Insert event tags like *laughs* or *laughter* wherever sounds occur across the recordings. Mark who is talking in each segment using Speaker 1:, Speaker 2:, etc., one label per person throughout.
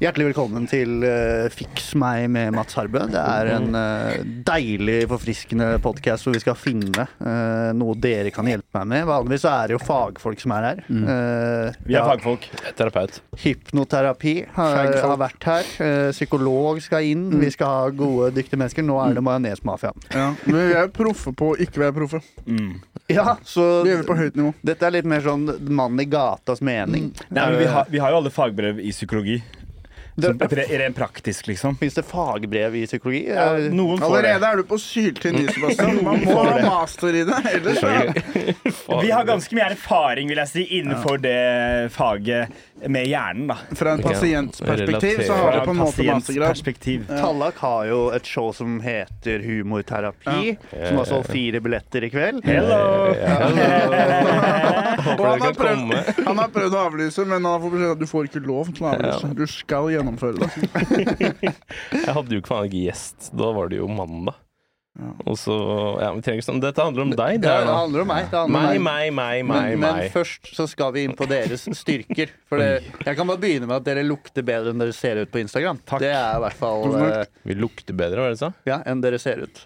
Speaker 1: Hjertelig velkommen til eh, Fiks meg med Mats Harbø. Det er en eh, deilig, forfriskende podkast hvor vi skal finne eh, noe dere kan hjelpe meg med. Vanligvis så er det jo fagfolk som er her. Eh,
Speaker 2: Mm. Vi er
Speaker 1: ja,
Speaker 2: fagfolk. Terapeut.
Speaker 1: hypnoterapi har, har vært her. Eh, psykolog skal inn.
Speaker 2: Mm.
Speaker 1: Vi skal ha gode, dyktige mennesker. Nå er det majonesmafiaen.
Speaker 3: Ja, men vi er proffe på å ikke være proffe.
Speaker 1: Ja, så
Speaker 3: Vi øver på høyt nivå.
Speaker 1: dette er litt mer sånn mann i gatas mening.
Speaker 2: Mm.
Speaker 1: Eh,
Speaker 2: Nei, men vi har, vi har jo alle fagbrev i psykologi. Så pre- Rent praktisk, liksom.
Speaker 1: Fins det fagbrev i psykologi?
Speaker 2: Noen får det.
Speaker 3: Allerede er du på syltynn is, Sebastian. Man må ha master i det. Ellers ja.
Speaker 2: Vi har ganske mye erfaring vil jeg si, innenfor det faget med hjernen. da
Speaker 3: Fra en pasients perspektiv så har du på en måte
Speaker 2: pasients
Speaker 3: *laughs* mastergrad.
Speaker 2: perspektiv.
Speaker 1: Tallak har jo et show som heter Humorterapi, som altså har solgt fire billetter i kveld.
Speaker 2: Hello!
Speaker 3: Og han har,
Speaker 4: kan
Speaker 3: prøvd, *laughs*
Speaker 4: komme.
Speaker 3: han har prøvd å avlyse, men han har fått beskjed om at du får ikke lov til å avlyse. Du skal gjennomføre det.
Speaker 4: Jeg hadde jo ikke faen ikke gjest. Da var det jo mandag. Og så Ja, vi trenger ikke sånn Dette handler om deg. Det
Speaker 1: Ja,
Speaker 4: her
Speaker 1: det
Speaker 4: nå.
Speaker 1: handler om meg. Det handler om
Speaker 4: Meg,
Speaker 1: meg.
Speaker 4: meg, meg, meg.
Speaker 1: Men, men
Speaker 4: meg.
Speaker 1: først så skal vi inn på deres styrker. For det, jeg kan bare begynne med at dere lukter bedre enn dere ser ut på Instagram. Det er i hvert fall
Speaker 3: Tusen
Speaker 1: eh,
Speaker 4: Vi lukter bedre, var det du sa?
Speaker 1: ja, enn dere ser ut.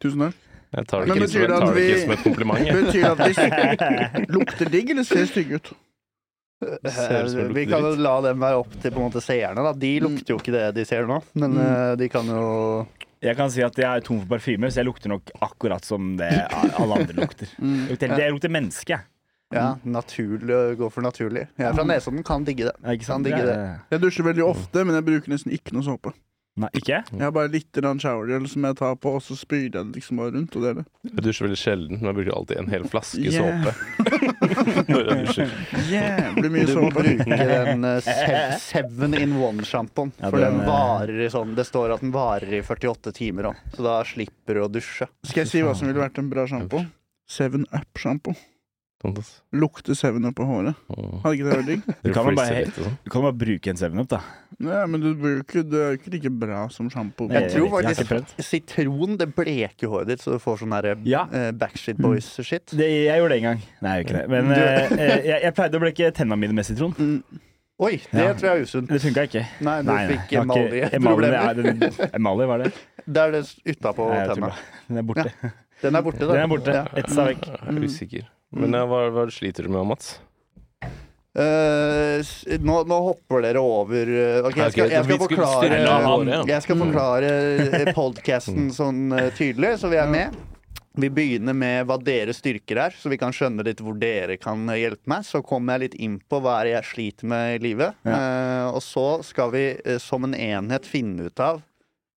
Speaker 3: Tusen takk.
Speaker 4: Jeg tar det
Speaker 3: Men
Speaker 4: ikke, som,
Speaker 3: betyr det
Speaker 4: jeg
Speaker 3: at
Speaker 4: tar det ikke
Speaker 3: vi-
Speaker 4: som et
Speaker 1: *laughs*
Speaker 4: kompliment. Jeg.
Speaker 3: Betyr det
Speaker 2: *laughs*
Speaker 3: at vi lukter digg, eller ser stygge ut?
Speaker 4: Ser ut
Speaker 1: Eh,
Speaker 4: som det
Speaker 1: Vi
Speaker 4: lukter
Speaker 1: kan jo
Speaker 4: dritt.
Speaker 1: la dem være opp til på en måte seerne. Da. De lukter jo ikke det de ser nå, men eh, de kan jo
Speaker 2: Jeg kan si at jeg er tom for parfyme, så jeg lukter nok akkurat som det alle andre lukter.
Speaker 3: Mm.
Speaker 2: Jeg lukter, jeg lukter menneske. jeg.
Speaker 1: ja, naturlig, gå for naturlig. Jeg er fra Nesodden, kan digge det.
Speaker 2: Ja, Ikke
Speaker 1: Kan
Speaker 2: sant?
Speaker 1: digge det.
Speaker 3: Jeg dusjer veldig ofte, men jeg bruker nesten ikke noe såpe.
Speaker 2: Nei, ikke?
Speaker 3: Jeg har bare litt grann showergel som jeg tar på, og så spyler jeg det liksom bare rundt. Og det er det.
Speaker 4: jeg dusjer veldig sjelden, men jeg bruker alltid en hel flaske
Speaker 3: Yeah.
Speaker 4: såpe når jeg dusjer.
Speaker 3: Jævlig mye
Speaker 1: Du må
Speaker 3: såpe.
Speaker 1: bruke den eh, sev- seven in one-sjampoen.
Speaker 2: Ja,
Speaker 1: For den
Speaker 2: den, eh,
Speaker 1: varer i sånn Det står at den varer i 48 timer òg, så da slipper du å dusje.
Speaker 3: Skal jeg si hva som ville vært en bra sjampo? Seven Up-sjampo.
Speaker 4: Sånn, ass.
Speaker 3: Lukte Seven Up på håret.
Speaker 4: Åh.
Speaker 3: Hadde ikke det vært
Speaker 4: *laughs*
Speaker 3: digg?
Speaker 2: Du kan, jo bare,
Speaker 4: Refresher litt og sånn.
Speaker 2: du kan jo bare bruke en 7-Up, da.
Speaker 3: Nei, men du bruker, det er jo ikke like bra som sjampo.
Speaker 2: Jeg
Speaker 1: tror
Speaker 2: vet ikke, jeg har
Speaker 1: faktisk-
Speaker 2: ikke prøvd.
Speaker 1: Sitron det bleker håret ditt, så du får sånn derre
Speaker 2: Ja.
Speaker 1: Backstreet Boys-shit.
Speaker 2: Mm. Det, jeg gjorde det en gang. Nei, jeg gjør ikke det. Men eh, eh, jeg, jeg pleide å blekke tennene mine med sitron.
Speaker 1: Oi, det
Speaker 2: Ja.
Speaker 1: tror jeg er usunt.
Speaker 2: Det funka ikke.
Speaker 1: Nei, du fikk
Speaker 2: jeg har ikke-
Speaker 1: emaljeproblemer.
Speaker 2: Emalje, nei, den- emalje var det.
Speaker 1: Det er det utapå
Speaker 2: Nei, jeg tror
Speaker 1: tenna.
Speaker 2: bare- Den er borte.
Speaker 1: Den er borte, da.
Speaker 2: Den er borte.
Speaker 1: Ja.
Speaker 2: Etsa vekk.
Speaker 4: Jeg
Speaker 1: Mm.
Speaker 4: er usikker. Men ja, hva, hva sliter du med, Mats?
Speaker 1: Eh, s- nå, nå hopper dere over eh, Ok, jeg skal,
Speaker 4: Ok,
Speaker 1: jeg skal
Speaker 4: vi skulle
Speaker 1: forklare
Speaker 4: stille han, ja.
Speaker 1: Jeg
Speaker 2: Mm.
Speaker 1: skal
Speaker 2: *laughs*
Speaker 1: forklare podkasten sånn eh, tydelig, så vi er med. Vi begynner med hva deres styrker er, så vi kan skjønne litt hvor dere kan eh, hjelpe meg. Så kommer jeg litt inn på hva er det jeg sliter med i livet. Eh, og så skal vi eh, som en enhet finne ut av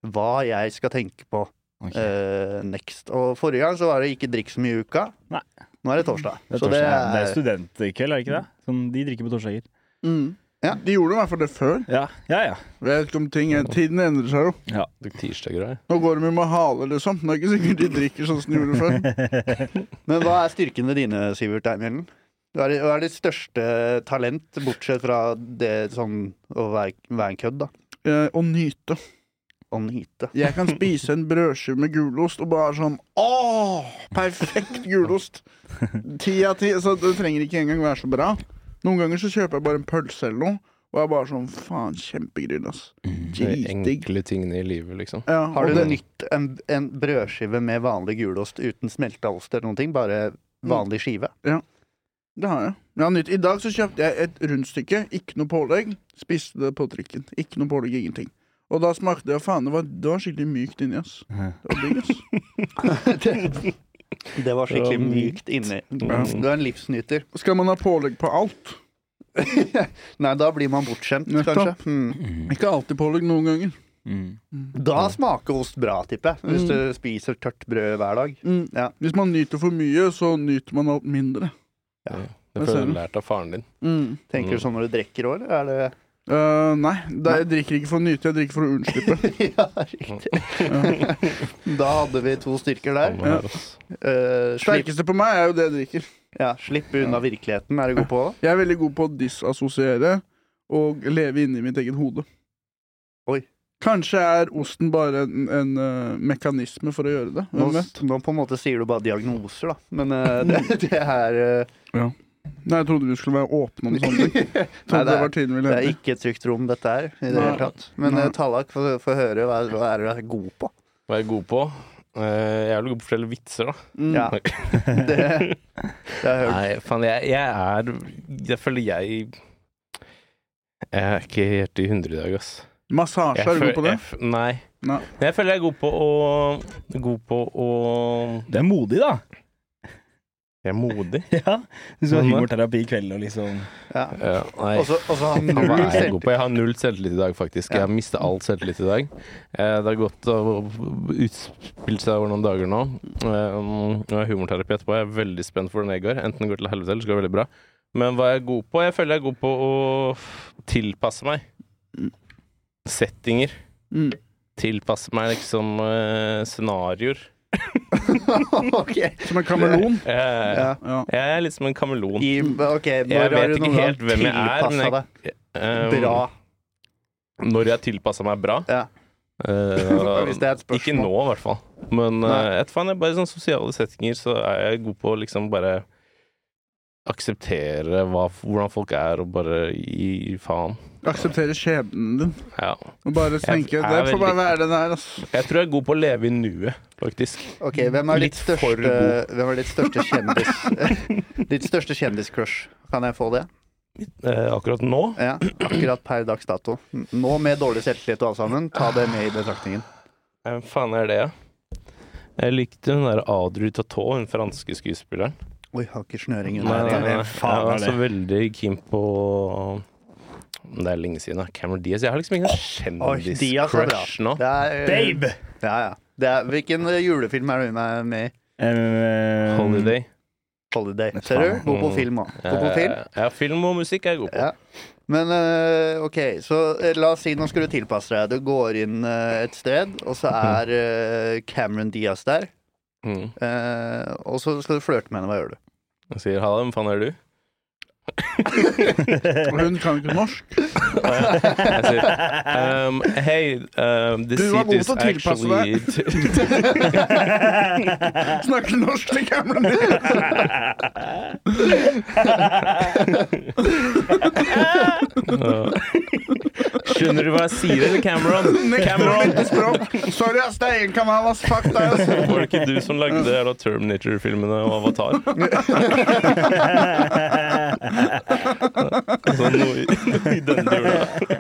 Speaker 1: hva jeg skal tenke på
Speaker 2: Ok.
Speaker 1: eh, next. Og forrige gang så var det ikke drikk så mye i uka.
Speaker 2: Nei.
Speaker 1: Nå er det torsdag.
Speaker 2: Det er,
Speaker 1: Så det
Speaker 2: torsdag. det er
Speaker 1: er
Speaker 2: studentkveld, er det ikke det? Som de drikker på torsdager.
Speaker 3: Mm.
Speaker 1: Ja.
Speaker 3: De gjorde i hvert fall det før.
Speaker 2: Ja, ja. ja.
Speaker 3: Vet ikke om ting Tiden endrer seg jo.
Speaker 4: Tirsdager, ja.
Speaker 3: Nå går de jo med hale, liksom. Det er ikke sikkert de drikker sånn som de gjorde før.
Speaker 1: Men hva er styrkene dine, Sivert Eimhjellen? Hva er, hva er ditt største talent, bortsett fra det sånn å være, være en kødd, da?
Speaker 3: Eh, å nyte.
Speaker 1: Å nyte.
Speaker 3: Jeg kan spise en brødskive med gulost og bare sånn Åh, perfekt gulost! Ti av ti. Så det trenger ikke engang være så bra. Noen ganger så kjøper jeg bare en pølse eller noe, og jeg er bare sånn Faen, kjempegrill, ass.
Speaker 1: Mm,
Speaker 4: De
Speaker 3: Dritdigg.
Speaker 4: enkle tingene i livet, liksom.
Speaker 3: Ja,
Speaker 1: Har
Speaker 3: og
Speaker 1: du
Speaker 3: det-
Speaker 1: nytt en, en brødskive med vanlig gulost uten smelteost eller noen ting? Bare vanlig
Speaker 3: *laughs*
Speaker 1: skive?
Speaker 3: Det har jeg. Men jeg har nytt. I dag så kjøpte jeg et rundstykke, ikke noe pålegg. Spiste det på trikken. Ikke noe pålegg, ingenting. Og da smakte jeg faen, det var, det var skikkelig mykt inni, ass. Det var digg,
Speaker 1: *laughs*
Speaker 3: ass.
Speaker 1: Det var skikkelig mykt inni. Du
Speaker 3: Mm.
Speaker 1: er en livsnyter. *laughs*
Speaker 3: Skal man ha pålegg på alt?
Speaker 1: Nei, da blir man bortskjemt, kanskje.
Speaker 3: Nettopp.
Speaker 1: Hmm.
Speaker 3: Ikke alltid pålegg noen ganger.
Speaker 2: Mm.
Speaker 1: Da smaker ost bra, tipper jeg. Hvis du spiser tørt brød hver dag.
Speaker 3: Mm.
Speaker 1: Ja.
Speaker 3: Hvis man nyter for mye, så nyter man alt mindre.
Speaker 4: Det
Speaker 3: Hva
Speaker 4: føler
Speaker 3: ser
Speaker 4: jeg
Speaker 3: du?
Speaker 4: har lært av faren din.
Speaker 3: Mm.
Speaker 1: Tenker du sånn når du drikker òg, eller er det
Speaker 3: Øh, nei, det, jeg drikker ikke for å nyte, jeg drikker for å
Speaker 1: *laughs*
Speaker 3: unnslippe. *laughs*
Speaker 1: Ja, riktig. *laughs* Da hadde vi to styrker der.
Speaker 4: Han var her, altså. ass.
Speaker 1: Eh, slipp,
Speaker 3: Sterkeste på meg er jo det jeg drikker.
Speaker 1: ja, slipp unna virkeligheten, er du god på?
Speaker 3: Jeg er veldig god på å disassosiere og leve inni mitt eget hode.
Speaker 1: Oi.
Speaker 3: Kanskje er osten bare en, en eh, mekanisme for å gjøre det.
Speaker 1: Nå,
Speaker 3: Hvem vet?
Speaker 1: *laughs* nå på en måte sier du bare diagnoser, da. Men eh, det, det er eh,
Speaker 3: Ja. Nei, jeg trodde vi skulle være åpne om sånn
Speaker 1: *laughs*
Speaker 3: sånne ting. Trodde det var tiden vi
Speaker 1: Det er
Speaker 3: levde i.
Speaker 1: ikke et trygt rom, dette her. i det
Speaker 3: Nei.
Speaker 1: hele tatt. Men
Speaker 3: Nei.
Speaker 1: eh, Tallak, få få høre. Hva, hva er du er god på?
Speaker 4: Hva er jeg god på? Eh, Jeg er vel god på å fortelle vitser, da.
Speaker 3: Mm.
Speaker 4: *laughs*
Speaker 1: Ja. Det, det har jeg hørt.
Speaker 4: Nei, faen, jeg, jeg er Jeg føler jeg Jeg er ikke helt i hundre i dag, ass.
Speaker 3: Massasje,
Speaker 4: Jeg
Speaker 3: er du
Speaker 4: føl-
Speaker 3: god på det?
Speaker 4: jeg f- nei.
Speaker 3: Nei.
Speaker 4: Men jeg føler jeg er god på å God på å
Speaker 2: Du er modig, da.
Speaker 4: Jeg er modig.
Speaker 2: Ja. Du skal ha
Speaker 4: Sånn, da.
Speaker 2: humorterapi i kveld og liksom
Speaker 1: Ja.
Speaker 4: Ja, nei.
Speaker 1: Og så og så har han *laughs*
Speaker 4: Hva
Speaker 1: null
Speaker 4: er jeg god
Speaker 1: selvtillit.
Speaker 4: på? Jeg har null selvtillit i dag, faktisk. Jeg har mista all selvtillit i dag. Eh, Det har gått og utspilt seg over noen dager nå. Eh, Nå er jeg humorterapi etterpå. Jeg er veldig spent på hvordan det går. Enten det går til helvete, eller så går det veldig bra. Men hva er jeg god på? Jeg føler jeg er god på å tilpasse meg. Settinger.
Speaker 3: Mm.
Speaker 4: Tilpasse meg liksom eh, scenarioer.
Speaker 1: Ok.
Speaker 3: Som en kameleon?
Speaker 4: Eh,
Speaker 1: *laughs* Ja.
Speaker 3: Ja.
Speaker 4: Jeg er litt som en kameleon.
Speaker 1: I, ok,
Speaker 4: Jeg
Speaker 1: når har
Speaker 4: vet
Speaker 1: du
Speaker 4: ikke
Speaker 1: noen gang
Speaker 4: helt hvem jeg er, men
Speaker 1: tilpassa
Speaker 4: jeg-
Speaker 1: deg
Speaker 4: Eh,
Speaker 1: bra?
Speaker 4: Når jeg tilpassa meg bra.
Speaker 1: Ja.
Speaker 4: Eh,
Speaker 1: *laughs* *laughs* Hvis det er et
Speaker 4: Ikke
Speaker 1: spørsmål.
Speaker 4: nå, i hvert fall. Men
Speaker 1: Nei.
Speaker 4: eh, jeg vet faen, jeg bare i sånne sosiale settinger så er jeg god på å liksom bare akseptere hva, hvordan folk er, og bare gi faen.
Speaker 3: Akseptere skjebnen din.
Speaker 4: Ja.
Speaker 3: Og bare tenke
Speaker 4: er
Speaker 3: Det får
Speaker 4: veldig-
Speaker 3: bare være det der, ass.
Speaker 4: Jeg tror jeg er god på å leve i nuet, faktisk.
Speaker 1: Ok, Hvem er ditt
Speaker 4: Litt for
Speaker 1: største, hvem er ditt største kjendis
Speaker 4: *laughs*
Speaker 1: Ditt største kjendiscrush? Kan jeg få det?
Speaker 4: Eh, akkurat nå.
Speaker 1: Ja, Akkurat per dags dato. Nå med dårlig selvtillit og alt sammen, ta det med i betraktningen.
Speaker 4: Hvem faen er det, ja? Jeg likte hun der Adru Tatot, hun franske skuespilleren.
Speaker 1: Oi, jeg har ikke snøring
Speaker 4: Nei,
Speaker 1: under.
Speaker 4: nei,
Speaker 1: her.
Speaker 4: nei.
Speaker 2: hvem faen
Speaker 4: jeg var
Speaker 2: er
Speaker 4: så veldig keen på Det er lenge siden, da. Cameron Diaz. Jeg har liksom ingen
Speaker 1: Oi, Diaz er bra.
Speaker 4: kjendis-crush nå.
Speaker 1: Det er,
Speaker 2: Babe!
Speaker 1: Ja, ja. Det er, hvilken eh, julefilm er du med med i?
Speaker 2: Eh, *laughs*
Speaker 4: Holiday.
Speaker 1: Holiday. Ser du? God på film òg. God på film.
Speaker 4: Eh, Ja, film og musikk er jeg god på.
Speaker 1: Ja. Men eh, OK, så eh, la oss si nå skal du tilpasse deg. Du går inn eh, et sted, og så er eh, Cameron Diaz der.
Speaker 4: Mm.
Speaker 1: eh, og så skal du flørte med henne. Hva gjør du?
Speaker 4: Jeg sier ha det, hvem faen er du? *laughs*
Speaker 3: Og hun kan ikke norsk.
Speaker 4: Jeg sier um, hey, um, the
Speaker 3: Du var
Speaker 4: seat
Speaker 3: god
Speaker 4: is
Speaker 3: til å tilpasse
Speaker 4: actually *laughs*
Speaker 3: Snakker norsk til
Speaker 4: *laughs*
Speaker 3: Cameron din!
Speaker 4: Skjønner du hva jeg sier, eller
Speaker 1: *laughs*
Speaker 4: Cameron? Cameron!
Speaker 3: Nekter språk. Sorry, ass. Det er én kanal, ass. Fuck deg, ass.
Speaker 4: *laughs* Var det ikke du som lagde jævla Terminator-filmene og
Speaker 1: *laughs*
Speaker 4: Avatar? Så Sånn noe, i- noe i den duren.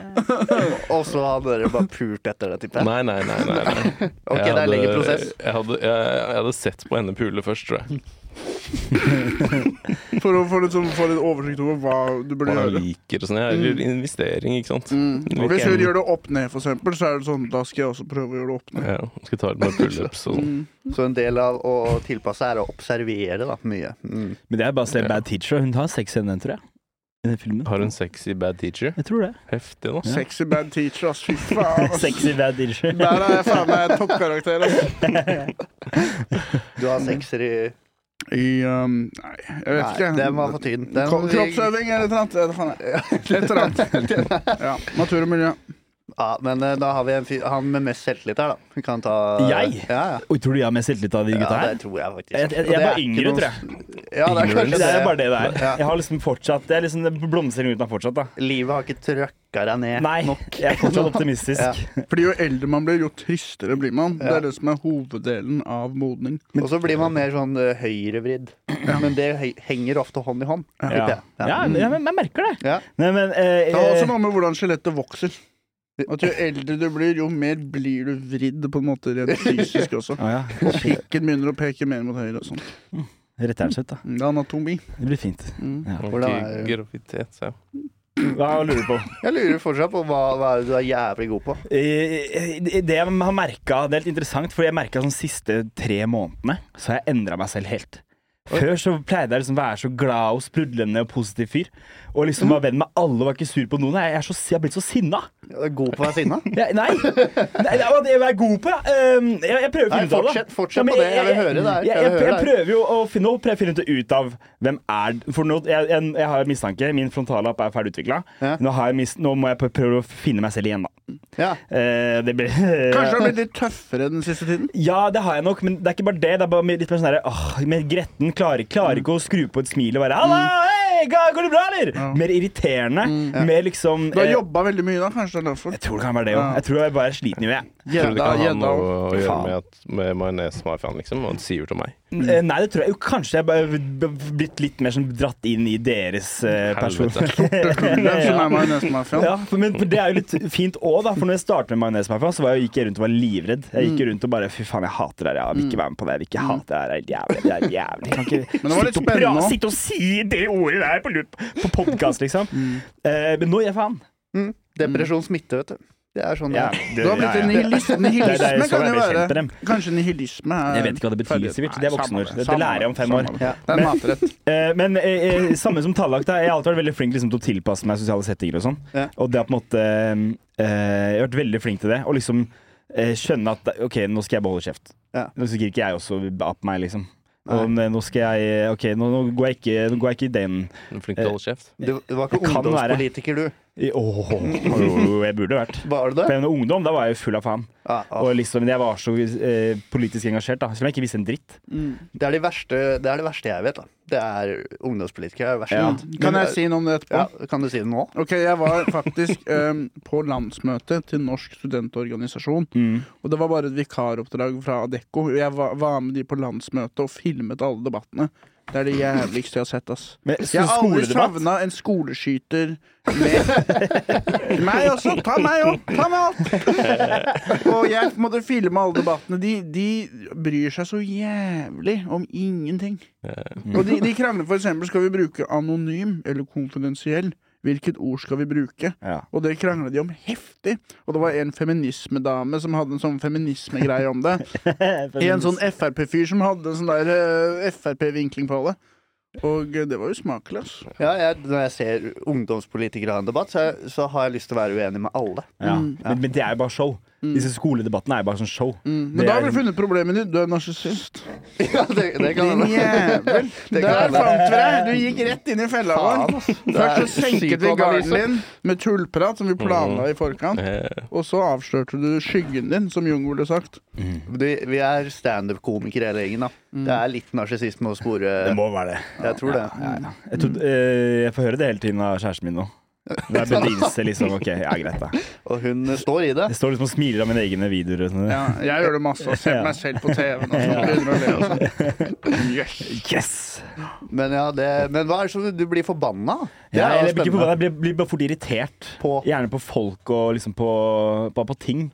Speaker 1: Og så har dere bare pult etter det, tipper jeg.
Speaker 4: Nei, nei, nei. nei, nei.
Speaker 1: Ok, det er en lengre prosess.
Speaker 4: Jeg hadde, jeg, jeg hadde sett på henne pule først, tror jeg.
Speaker 3: For å få litt, sånn, få litt oversikt over hva du burde
Speaker 4: Hva jeg
Speaker 3: gjøre.
Speaker 4: liker og sånn. Jeg
Speaker 1: Mm.
Speaker 4: gjør investering, ikke sant.
Speaker 3: Og hvis hun gjør det opp ned, for eksempel, så er det sånn Da skal jeg også prøve å gjøre det opp ned.
Speaker 4: Ja, skal ta med pullups og sånn.
Speaker 1: Så en del av å tilpasse er å observere da, mye. Mm.
Speaker 2: Men det er bare å se
Speaker 4: Ja.
Speaker 2: Bad Teacher. Hun har sex scenen, tror jeg. I den filmen.
Speaker 4: Har hun sexy bad teacher?
Speaker 2: Jeg tror det.
Speaker 4: Heftig, da.
Speaker 3: Sexy bad teacher, ass. Fy
Speaker 4: *laughs*
Speaker 2: *laughs*
Speaker 3: faen. ass.
Speaker 2: Sexy Bad Teacher.
Speaker 3: Der er jeg faen meg toppkarakter, ass.
Speaker 1: Du har sekser i
Speaker 3: I um, Nei, jeg vet
Speaker 1: Nei,
Speaker 3: ikke.
Speaker 1: den var for tynn. Den-
Speaker 3: Kro- Kroppsøving eller et eller annet. Jeg vet faen, jeg. Et eller
Speaker 1: *laughs*
Speaker 3: annet. Ja. Natur og miljø.
Speaker 1: Ja, men eh, da har vi en fyr, han med mest selvtillit her, da. Vi kan ta
Speaker 2: Jeg?
Speaker 1: Ja, ja.
Speaker 2: Oi, tror du jeg har mest selvtillit av de
Speaker 1: ja
Speaker 2: gutta
Speaker 1: det
Speaker 2: her?
Speaker 1: tror jeg faktisk.
Speaker 2: Jeg, jeg,
Speaker 1: Og
Speaker 2: jeg
Speaker 1: det
Speaker 2: er bare
Speaker 1: ikke
Speaker 2: yngre,
Speaker 1: noe-
Speaker 2: tror jeg.
Speaker 1: Ja, det er kanskje
Speaker 4: Ignorance.
Speaker 2: Det er bare det det er.
Speaker 1: Ja.
Speaker 2: Jeg har liksom fortsatt Det er liksom det blomstrer uten å ha fortsatt, da.
Speaker 1: Livet har ikke trøkka deg ned
Speaker 2: Nei,
Speaker 1: nok.
Speaker 2: jeg er fortsatt optimistisk.
Speaker 3: Fordi jo eldre man blir, jo tristere blir man. Det er det som er hoveddelen av modning.
Speaker 1: Og så blir man mer sånn eh, høyrevridd. Men det he- henger ofte hånd i hånd.
Speaker 2: Ja,
Speaker 1: tipper jeg.
Speaker 2: ja men jeg, jeg merker det.
Speaker 1: Ja.
Speaker 2: Nei, men eh,
Speaker 3: Det har også
Speaker 2: eh,
Speaker 3: noe med hvordan skjelettet vokser. At jo eldre du blir, jo mer blir du vridd på en måte rent fysisk også.
Speaker 2: Å ja.
Speaker 3: Og pikken begynner å peke mer mot høyre og sånn.
Speaker 2: Rett og slett, da.
Speaker 3: Det er anatomi.
Speaker 2: Det blir fint. Ja.
Speaker 1: Hvordan er-
Speaker 4: Gravitet, sa jeg.
Speaker 2: Hva lurer du på?
Speaker 1: Jeg lurer fortsatt på hva, hva er det du er jævlig god på.
Speaker 2: Eh, Det jeg har merka, det er litt interessant, for jeg merka de siste tre månedene, så har jeg endra meg selv helt. Før så pleide jeg liksom å være så glad og sprudlende og positiv fyr. Og liksom var venn med alle og var ikke sur på noen. Jeg, er så, jeg har blitt så sinna.
Speaker 1: Ja, du er God på å være sinna.
Speaker 2: Jeg,
Speaker 1: *laughs*
Speaker 2: nei. nei! Det er hva det jeg er god på, ja. Um, jeg. Jeg prøver å
Speaker 1: Nei,
Speaker 2: finne ut av det.
Speaker 1: fortsett- fortsett
Speaker 2: men
Speaker 1: på det. Jeg vil høre det her.
Speaker 2: Jeg,
Speaker 1: Jeg
Speaker 2: jeg,
Speaker 1: vil høre
Speaker 2: jeg,
Speaker 1: det her.
Speaker 2: prøver jo å finne, nå prøver jeg å finne ut- ut av hvem er For nå, jeg, jeg, jeg har mistanke. Min frontallapp er ferdig utvikla.
Speaker 1: Ja.
Speaker 2: Nå, har jeg mis- nå må jeg prøve å finne meg selv igjen, da.
Speaker 1: Ja.
Speaker 2: Eh, det blir
Speaker 3: Kanskje du har blitt litt tøffere den siste tiden?
Speaker 2: Ja, det har jeg nok, men det er ikke bare det. Det er bare litt mer sånn der, åh, men Gretten klarer, klarer ikke å skru på et smil og være Halla, hei, 'Hei, ga- går det bra, eller?'
Speaker 3: Mm. Ja. Mm.
Speaker 2: Mer irriterende. Mer liksom
Speaker 3: Du har
Speaker 2: eh,
Speaker 3: jobba veldig mye da, kanskje det er derfor?
Speaker 2: Jeg tror det kan være det
Speaker 3: Ja.
Speaker 2: òg. Jeg tror jeg bare er sliten i huet. jeg.
Speaker 4: Tror du det
Speaker 3: Gjedda,
Speaker 4: kan ha
Speaker 3: gjedda
Speaker 4: noe
Speaker 3: også.
Speaker 4: å gjøre
Speaker 2: Faen.
Speaker 4: med, at- med majones-mafiaen, liksom? Og Sivert og meg.
Speaker 3: Mm.
Speaker 2: Eh, Nei, det tror jeg jo kanskje jeg bare b- b- blitt litt mer sånn dratt inn i deres eh, person. *laughs*
Speaker 3: Hvem som er majonesmafiaen?
Speaker 2: Ja, for, men for det er jo litt fint òg, da. For når jeg startet med majonesmafiaen, så var jeg, gikk jeg rundt og var livredd. Jeg
Speaker 3: Mm.
Speaker 2: gikk rundt og bare Fy faen, jeg hater det her. Jeg vil ikke være med på det. Jeg vil ikke hate det her. Det er jævlig. Det er jævlig. Jeg Kan ikke
Speaker 3: Men Mm. det var litt
Speaker 2: sitte og
Speaker 3: spennende
Speaker 2: pra-
Speaker 3: også.
Speaker 2: Sitte og si det ordet der på, lut- på podkast, liksom.
Speaker 3: Mm.
Speaker 2: Eh, men nå gir jeg faen.
Speaker 1: Mm. Depresjon smitter, vet du. Det er sånn det
Speaker 2: Ja,
Speaker 1: er.
Speaker 2: det-
Speaker 3: Du har
Speaker 2: ja,
Speaker 3: blitt
Speaker 2: ja.
Speaker 3: en nihilist.
Speaker 2: Det er- det
Speaker 3: Nihilisme
Speaker 2: er- sånn
Speaker 3: kan jo
Speaker 2: er det kjent med
Speaker 3: være
Speaker 2: dem.
Speaker 3: Kanskje nihilisme er
Speaker 2: Jeg vet ikke hva det betyr, Sivert. Det er voksenord. Det, det
Speaker 3: Samme
Speaker 2: lærer jeg om fem år.
Speaker 3: samme
Speaker 1: Ja.
Speaker 3: Det er en matrett.
Speaker 2: Eh, men eh, eh, samme som Tallak, da. Jeg har alltid vært veldig flink liksom, til å tilpasse meg sosiale settinger og sånn.
Speaker 1: Ja.
Speaker 2: Og det har på en måte eh, Jeg har vært veldig flink til det. Og liksom eh, skjønne at OK, nå skal jeg beholde kjeft.
Speaker 1: Ja.
Speaker 2: Nå skal ikke jeg også ape meg, liksom.
Speaker 1: Nei.
Speaker 2: Og nå skal jeg eh, OK, nå, nå, går jeg ikke, nå går jeg ikke i den
Speaker 4: Flink til å holde
Speaker 2: Eh.
Speaker 4: kjeft.
Speaker 1: Du, du var
Speaker 2: Det
Speaker 1: ikke
Speaker 2: kan være.
Speaker 1: ungdomspolitiker, du.
Speaker 2: i- Åh, jo, jeg burde vært.
Speaker 1: Var du
Speaker 2: For
Speaker 1: det?
Speaker 2: jeg var ungdom, da var jeg jo full av faen.
Speaker 1: Ja, ja.
Speaker 2: Og liksom, jeg var så eh, politisk engasjert, da. Selv om jeg ikke visste en dritt.
Speaker 1: Det, er de verste, det er det verste jeg vet. da Det er ungdomspolitikere. Det er det verste.
Speaker 2: Ja.
Speaker 1: jeg vet.
Speaker 3: Mm. Kan jeg si noe om det etterpå?
Speaker 1: ja, Kan du si det nå?
Speaker 3: Ok, jeg var faktisk em, på landsmøtet til Norsk studentorganisasjon.
Speaker 2: Mm.
Speaker 3: Og det var bare et vikaroppdrag fra Adecco. Jeg var, var med de på landsmøtet og filmet alle debattene. Det er det jævligste jeg har sett, ass.
Speaker 2: Men,
Speaker 3: Jeg har aldri
Speaker 2: skoledebatt?
Speaker 3: savna en skoleskyter med *laughs* Meg også! Ta meg opp! Ta meg opp! *laughs* Og jeg måtte filme alle debattene. De, de bryr seg så jævlig om ingenting. Og de, de krangler for eksempel skal vi bruke anonym eller konfidensiell. Hvilket ord skal vi bruke?
Speaker 2: Ja. *laughs*
Speaker 3: Og det krangla de om heftig. Og det var en feminismedame som hadde en sånn feminismegreie om det. En sånn Frp-fyr som hadde en sånn der eh, Frp-vinkling på det. Og eh, det var jo smakelig, ass.
Speaker 1: Ja, jeg, når jeg ser ungdomspolitikere ha en debatt, så, så har jeg lyst til å være uenig med alle.
Speaker 2: Ja.
Speaker 3: Mm.
Speaker 2: Men, men det er jo bare show. Disse skoledebattene er jo bare sånn show.
Speaker 3: Men
Speaker 2: Det
Speaker 3: da
Speaker 2: er-
Speaker 3: har vi funnet problemet ditt. Du er narsissist.
Speaker 1: Ja, det, det kan
Speaker 3: Din jævel. Der fant vi deg! Du gikk rett inn i fella vår.
Speaker 1: altså.
Speaker 3: Først så senket vi garden din med tullprat, som vi planla i forkant.
Speaker 4: Eh,
Speaker 3: Og så avslørte du skyggen din, som Jung ville sagt.
Speaker 1: Du, vi er standup-komikere hele gjengen. da
Speaker 2: Mm.
Speaker 1: Det er litt narsissisme å spore.
Speaker 2: må være det.
Speaker 1: Jeg tror det.
Speaker 2: Jeg, trodde,
Speaker 3: Mm.
Speaker 2: eh, jeg får høre det hele tiden av kjæresten min nå. Når jeg beviser liksom OK, ja, greit, da.
Speaker 1: Og hun står i det.
Speaker 2: Jeg står liksom og smiler av mine egne videoer. Og sånn.
Speaker 3: Ja, jeg gjør det masse. Og ser på meg selv på TV-en og sånn. Begynner å le og sånn. Yes.
Speaker 2: Yes!
Speaker 1: Men, ja, det, men hva er det som du blir forbanna? Det er
Speaker 2: Ja,
Speaker 1: jo
Speaker 2: eller jeg blir ikke
Speaker 1: spennende.
Speaker 2: forbanna, jeg blir, blir bare fort irritert.
Speaker 1: På?
Speaker 2: Gjerne på folk og liksom på, på, på ting.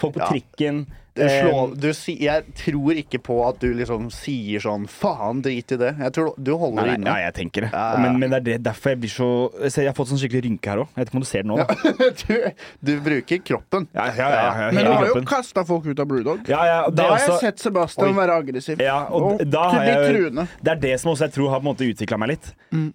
Speaker 2: Folk på
Speaker 1: Ja.
Speaker 2: trikken.
Speaker 1: Du
Speaker 2: eh,
Speaker 1: slår, du, si- jeg tror ikke på at du liksom sier sånn 'faen, drit i det'. Jeg tror du
Speaker 2: Nei,
Speaker 1: holder
Speaker 2: nei,
Speaker 1: inne.
Speaker 2: nei, jeg tenker det.
Speaker 1: Ja, ja, ja.
Speaker 2: Men, men det er det, derfor jeg blir så Jeg ser- jeg har fått sånn skikkelig rynke her òg. Jeg vet ikke om du ser det nå. Da.
Speaker 1: *laughs* Du, du bruker kroppen.
Speaker 2: Ja, ja, ja, ja, ja,
Speaker 3: Men du
Speaker 2: hele
Speaker 3: har jo
Speaker 2: kroppen.
Speaker 3: kasta folk ut av Brewdog.
Speaker 2: ja, ja, og det
Speaker 3: Da
Speaker 2: er
Speaker 3: har jeg
Speaker 2: også-
Speaker 3: sett Sebastian
Speaker 2: Oi.
Speaker 3: være aggressiv.
Speaker 2: Ja, og, da har
Speaker 3: litt
Speaker 2: jeg,
Speaker 3: truende.
Speaker 2: det er det som også jeg tror har på en måte utvikla meg litt.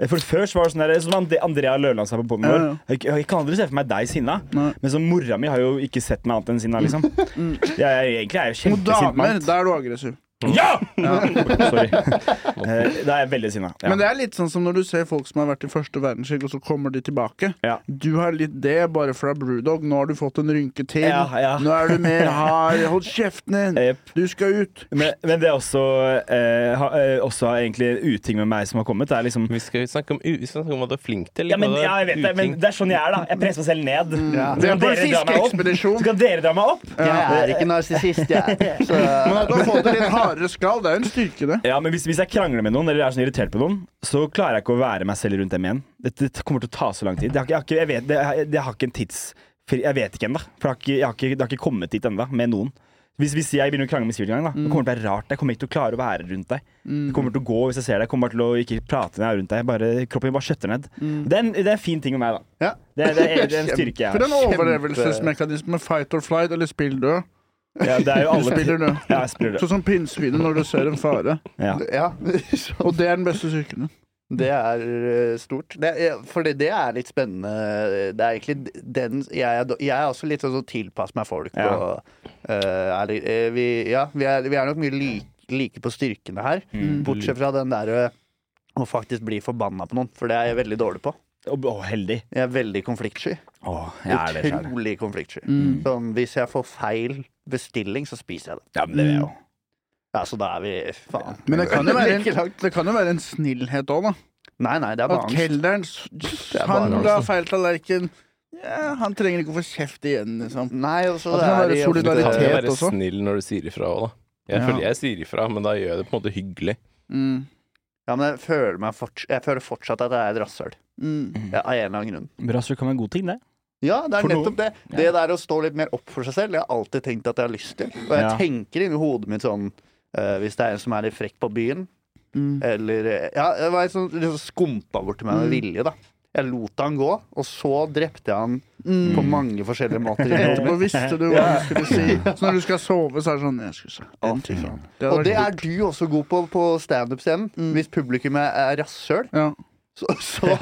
Speaker 2: For Før så var det sånn der, som Ande- Andrea Løland sa på poden
Speaker 3: Ja,
Speaker 2: vår.
Speaker 3: ja.
Speaker 2: Jeg, jeg kan aldri se for meg deg sinna,
Speaker 3: Nei.
Speaker 2: men så mora mi har jo ikke sett meg annet enn sinna, liksom. Jeg, er- egentlig er jeg jo
Speaker 3: Mm. Mot
Speaker 2: kjempesint
Speaker 3: damer,
Speaker 2: mann.
Speaker 3: da er du aggressiv.
Speaker 2: Ja! *laughs* Sorry. Eh, Da er jeg veldig sinna. Ja.
Speaker 3: Men det er litt sånn som når du ser folk som har vært i første verdenskrig, og så kommer de tilbake.
Speaker 2: Ja.
Speaker 3: Du har litt det bare fra Brewdog. Nå har du fått en rynke til.
Speaker 2: Ja, ja.
Speaker 3: Nå er du
Speaker 2: *laughs*
Speaker 3: mer hard. Hold kjeften din!
Speaker 2: Jepp.
Speaker 3: Du skal ut!
Speaker 2: Men, men det er også, eh, ha, eh, også egentlig en uting med meg som har kommet. Det er liksom
Speaker 4: vi skal snakke om, vi skal snakke om hva du er flink til.
Speaker 2: ja, men,
Speaker 4: hva du er
Speaker 2: ja, jeg vet det, men
Speaker 4: uting-
Speaker 2: det er sånn jeg er, da. Jeg presser meg selv ned.
Speaker 1: Ja.
Speaker 2: Så
Speaker 3: Vi Mm. er
Speaker 2: kan dere
Speaker 3: på en
Speaker 2: dra meg opp.
Speaker 3: fiskeekspedisjon.
Speaker 2: Så kan dere dra meg opp.
Speaker 1: Jeg er ikke narsissist,
Speaker 2: *laughs*
Speaker 1: jeg. Så,
Speaker 3: Men at du har fått et litt hardere skall, det er jo en styrke, det.
Speaker 2: Ja, men hvis, hvis jeg krangler med noen, eller er sånn irritert på noen, så klarer jeg ikke å være meg selv rundt dem igjen. Dette t- kommer til å ta så lang tid. Jeg har ikke, jeg har ikke, jeg vet, det, jeg, jeg har ikke en tids... for Jeg vet ikke ennå. For jeg har ikke, jeg har ikke, det har ikke kommet dit ennå, med noen. Hvis, hvis jeg begynner å krangle med Sivert en gang, da, det kommer det til å være rart. Jeg kommer ikke til å klare å være rundt deg. Jeg kommer til å gå hvis jeg ser deg. Jeg kommer bare til å ikke prate når jeg er rundt deg. Bare, kroppen min bare skjøtter ned. Det, er en, det er en fin ting med meg, da.
Speaker 1: ja.
Speaker 2: Det, er- det, er, det er en styrke jeg
Speaker 3: For
Speaker 2: har.
Speaker 3: en overlevelsesmekanisme. Fight or flight eller spill død.
Speaker 2: Ja, det er jo
Speaker 3: Du
Speaker 2: alle
Speaker 3: spiller død.
Speaker 2: Ja, jeg spiller det.
Speaker 3: Sånn som pinnsvinet når du ser en fare.
Speaker 2: Ja. *laughs*
Speaker 1: ja. Så
Speaker 3: Og det er den beste styrken.
Speaker 1: Det er eh, stort. Det, eh, for det, det er litt spennende. Det er egentlig den Jeg er, da- jeg er også litt sånn som tilpasser meg folk.
Speaker 2: Ja.
Speaker 1: Og, eh, er, litt- eh, vi, ja, vi, er, vi er nok mye like, like på styrkene her.
Speaker 2: Mm.
Speaker 1: Bortsett fra den derre å faktisk bli forbanna på noen, for det er jeg veldig dårlig på.
Speaker 2: Og, og heldig.
Speaker 1: Jeg er veldig konfliktsky.
Speaker 2: Å, jeg er det Mm. sjøl.
Speaker 1: Utrolig konfliktsky. Sånn, hvis jeg får feil bestilling, så spiser jeg det.
Speaker 2: Ja, men det er jeg òg.
Speaker 1: Ja, så da er vi Faen.
Speaker 3: Men det kan jo
Speaker 1: *laughs*
Speaker 3: være
Speaker 1: Like langt.
Speaker 3: en, det kan jo være en snillhet òg, da.
Speaker 1: Nei, nei, det er bare
Speaker 3: At
Speaker 1: angst.
Speaker 3: kelneren s-
Speaker 1: er bare
Speaker 3: Han
Speaker 1: angst, altså.
Speaker 3: la
Speaker 4: da.
Speaker 3: feil tallerken. Ja, han trenger ikke å få kjeft igjen, liksom.
Speaker 1: Nei, altså,
Speaker 3: At
Speaker 1: det
Speaker 3: det må
Speaker 1: er i-
Speaker 3: være
Speaker 4: Du kan jo
Speaker 3: solidaritet.
Speaker 4: være
Speaker 3: også.
Speaker 4: snill når du sier ifra òg, da. Jeg
Speaker 3: Ja.
Speaker 4: føler jeg sier ifra, men da gjør jeg det på en måte hyggelig.
Speaker 3: Mm.
Speaker 1: Ja, men jeg føler, meg forts jeg føler fortsatt at jeg er et rasshøl.
Speaker 3: Mm.
Speaker 1: Ja, av en eller annen grunn.
Speaker 2: Brassur kan være en god ting, det.
Speaker 1: Ja, det er
Speaker 2: For noen.
Speaker 1: nettopp det. Det der å stå litt mer opp for seg selv, jeg har alltid tenkt at jeg har lyst til. Og jeg
Speaker 2: Ja.
Speaker 1: tenker inni hodet mitt sånn eh, Hvis det er en som er litt frekk på byen,
Speaker 3: Mm.
Speaker 1: eller eh, Ja, det var en som liksom skumpa bort til meg med
Speaker 3: Mm.
Speaker 1: vilje, da. Jeg lot han gå, og så drepte jeg han
Speaker 3: Mm.
Speaker 1: på mange forskjellige måter. *laughs* inni hodet mitt.
Speaker 3: Nå visste du hva du skulle si. Så når du skal sove, så er det sånn Jeg skulle sagt
Speaker 1: Å,
Speaker 3: den
Speaker 1: fy
Speaker 3: tingen.
Speaker 1: faen.
Speaker 3: Det hadde
Speaker 1: Og
Speaker 3: vært
Speaker 1: det Mm.
Speaker 3: lurt.
Speaker 1: er du også god på på standup-scenen. Hvis publikummet er rasshøl,
Speaker 3: ja.
Speaker 1: så, så,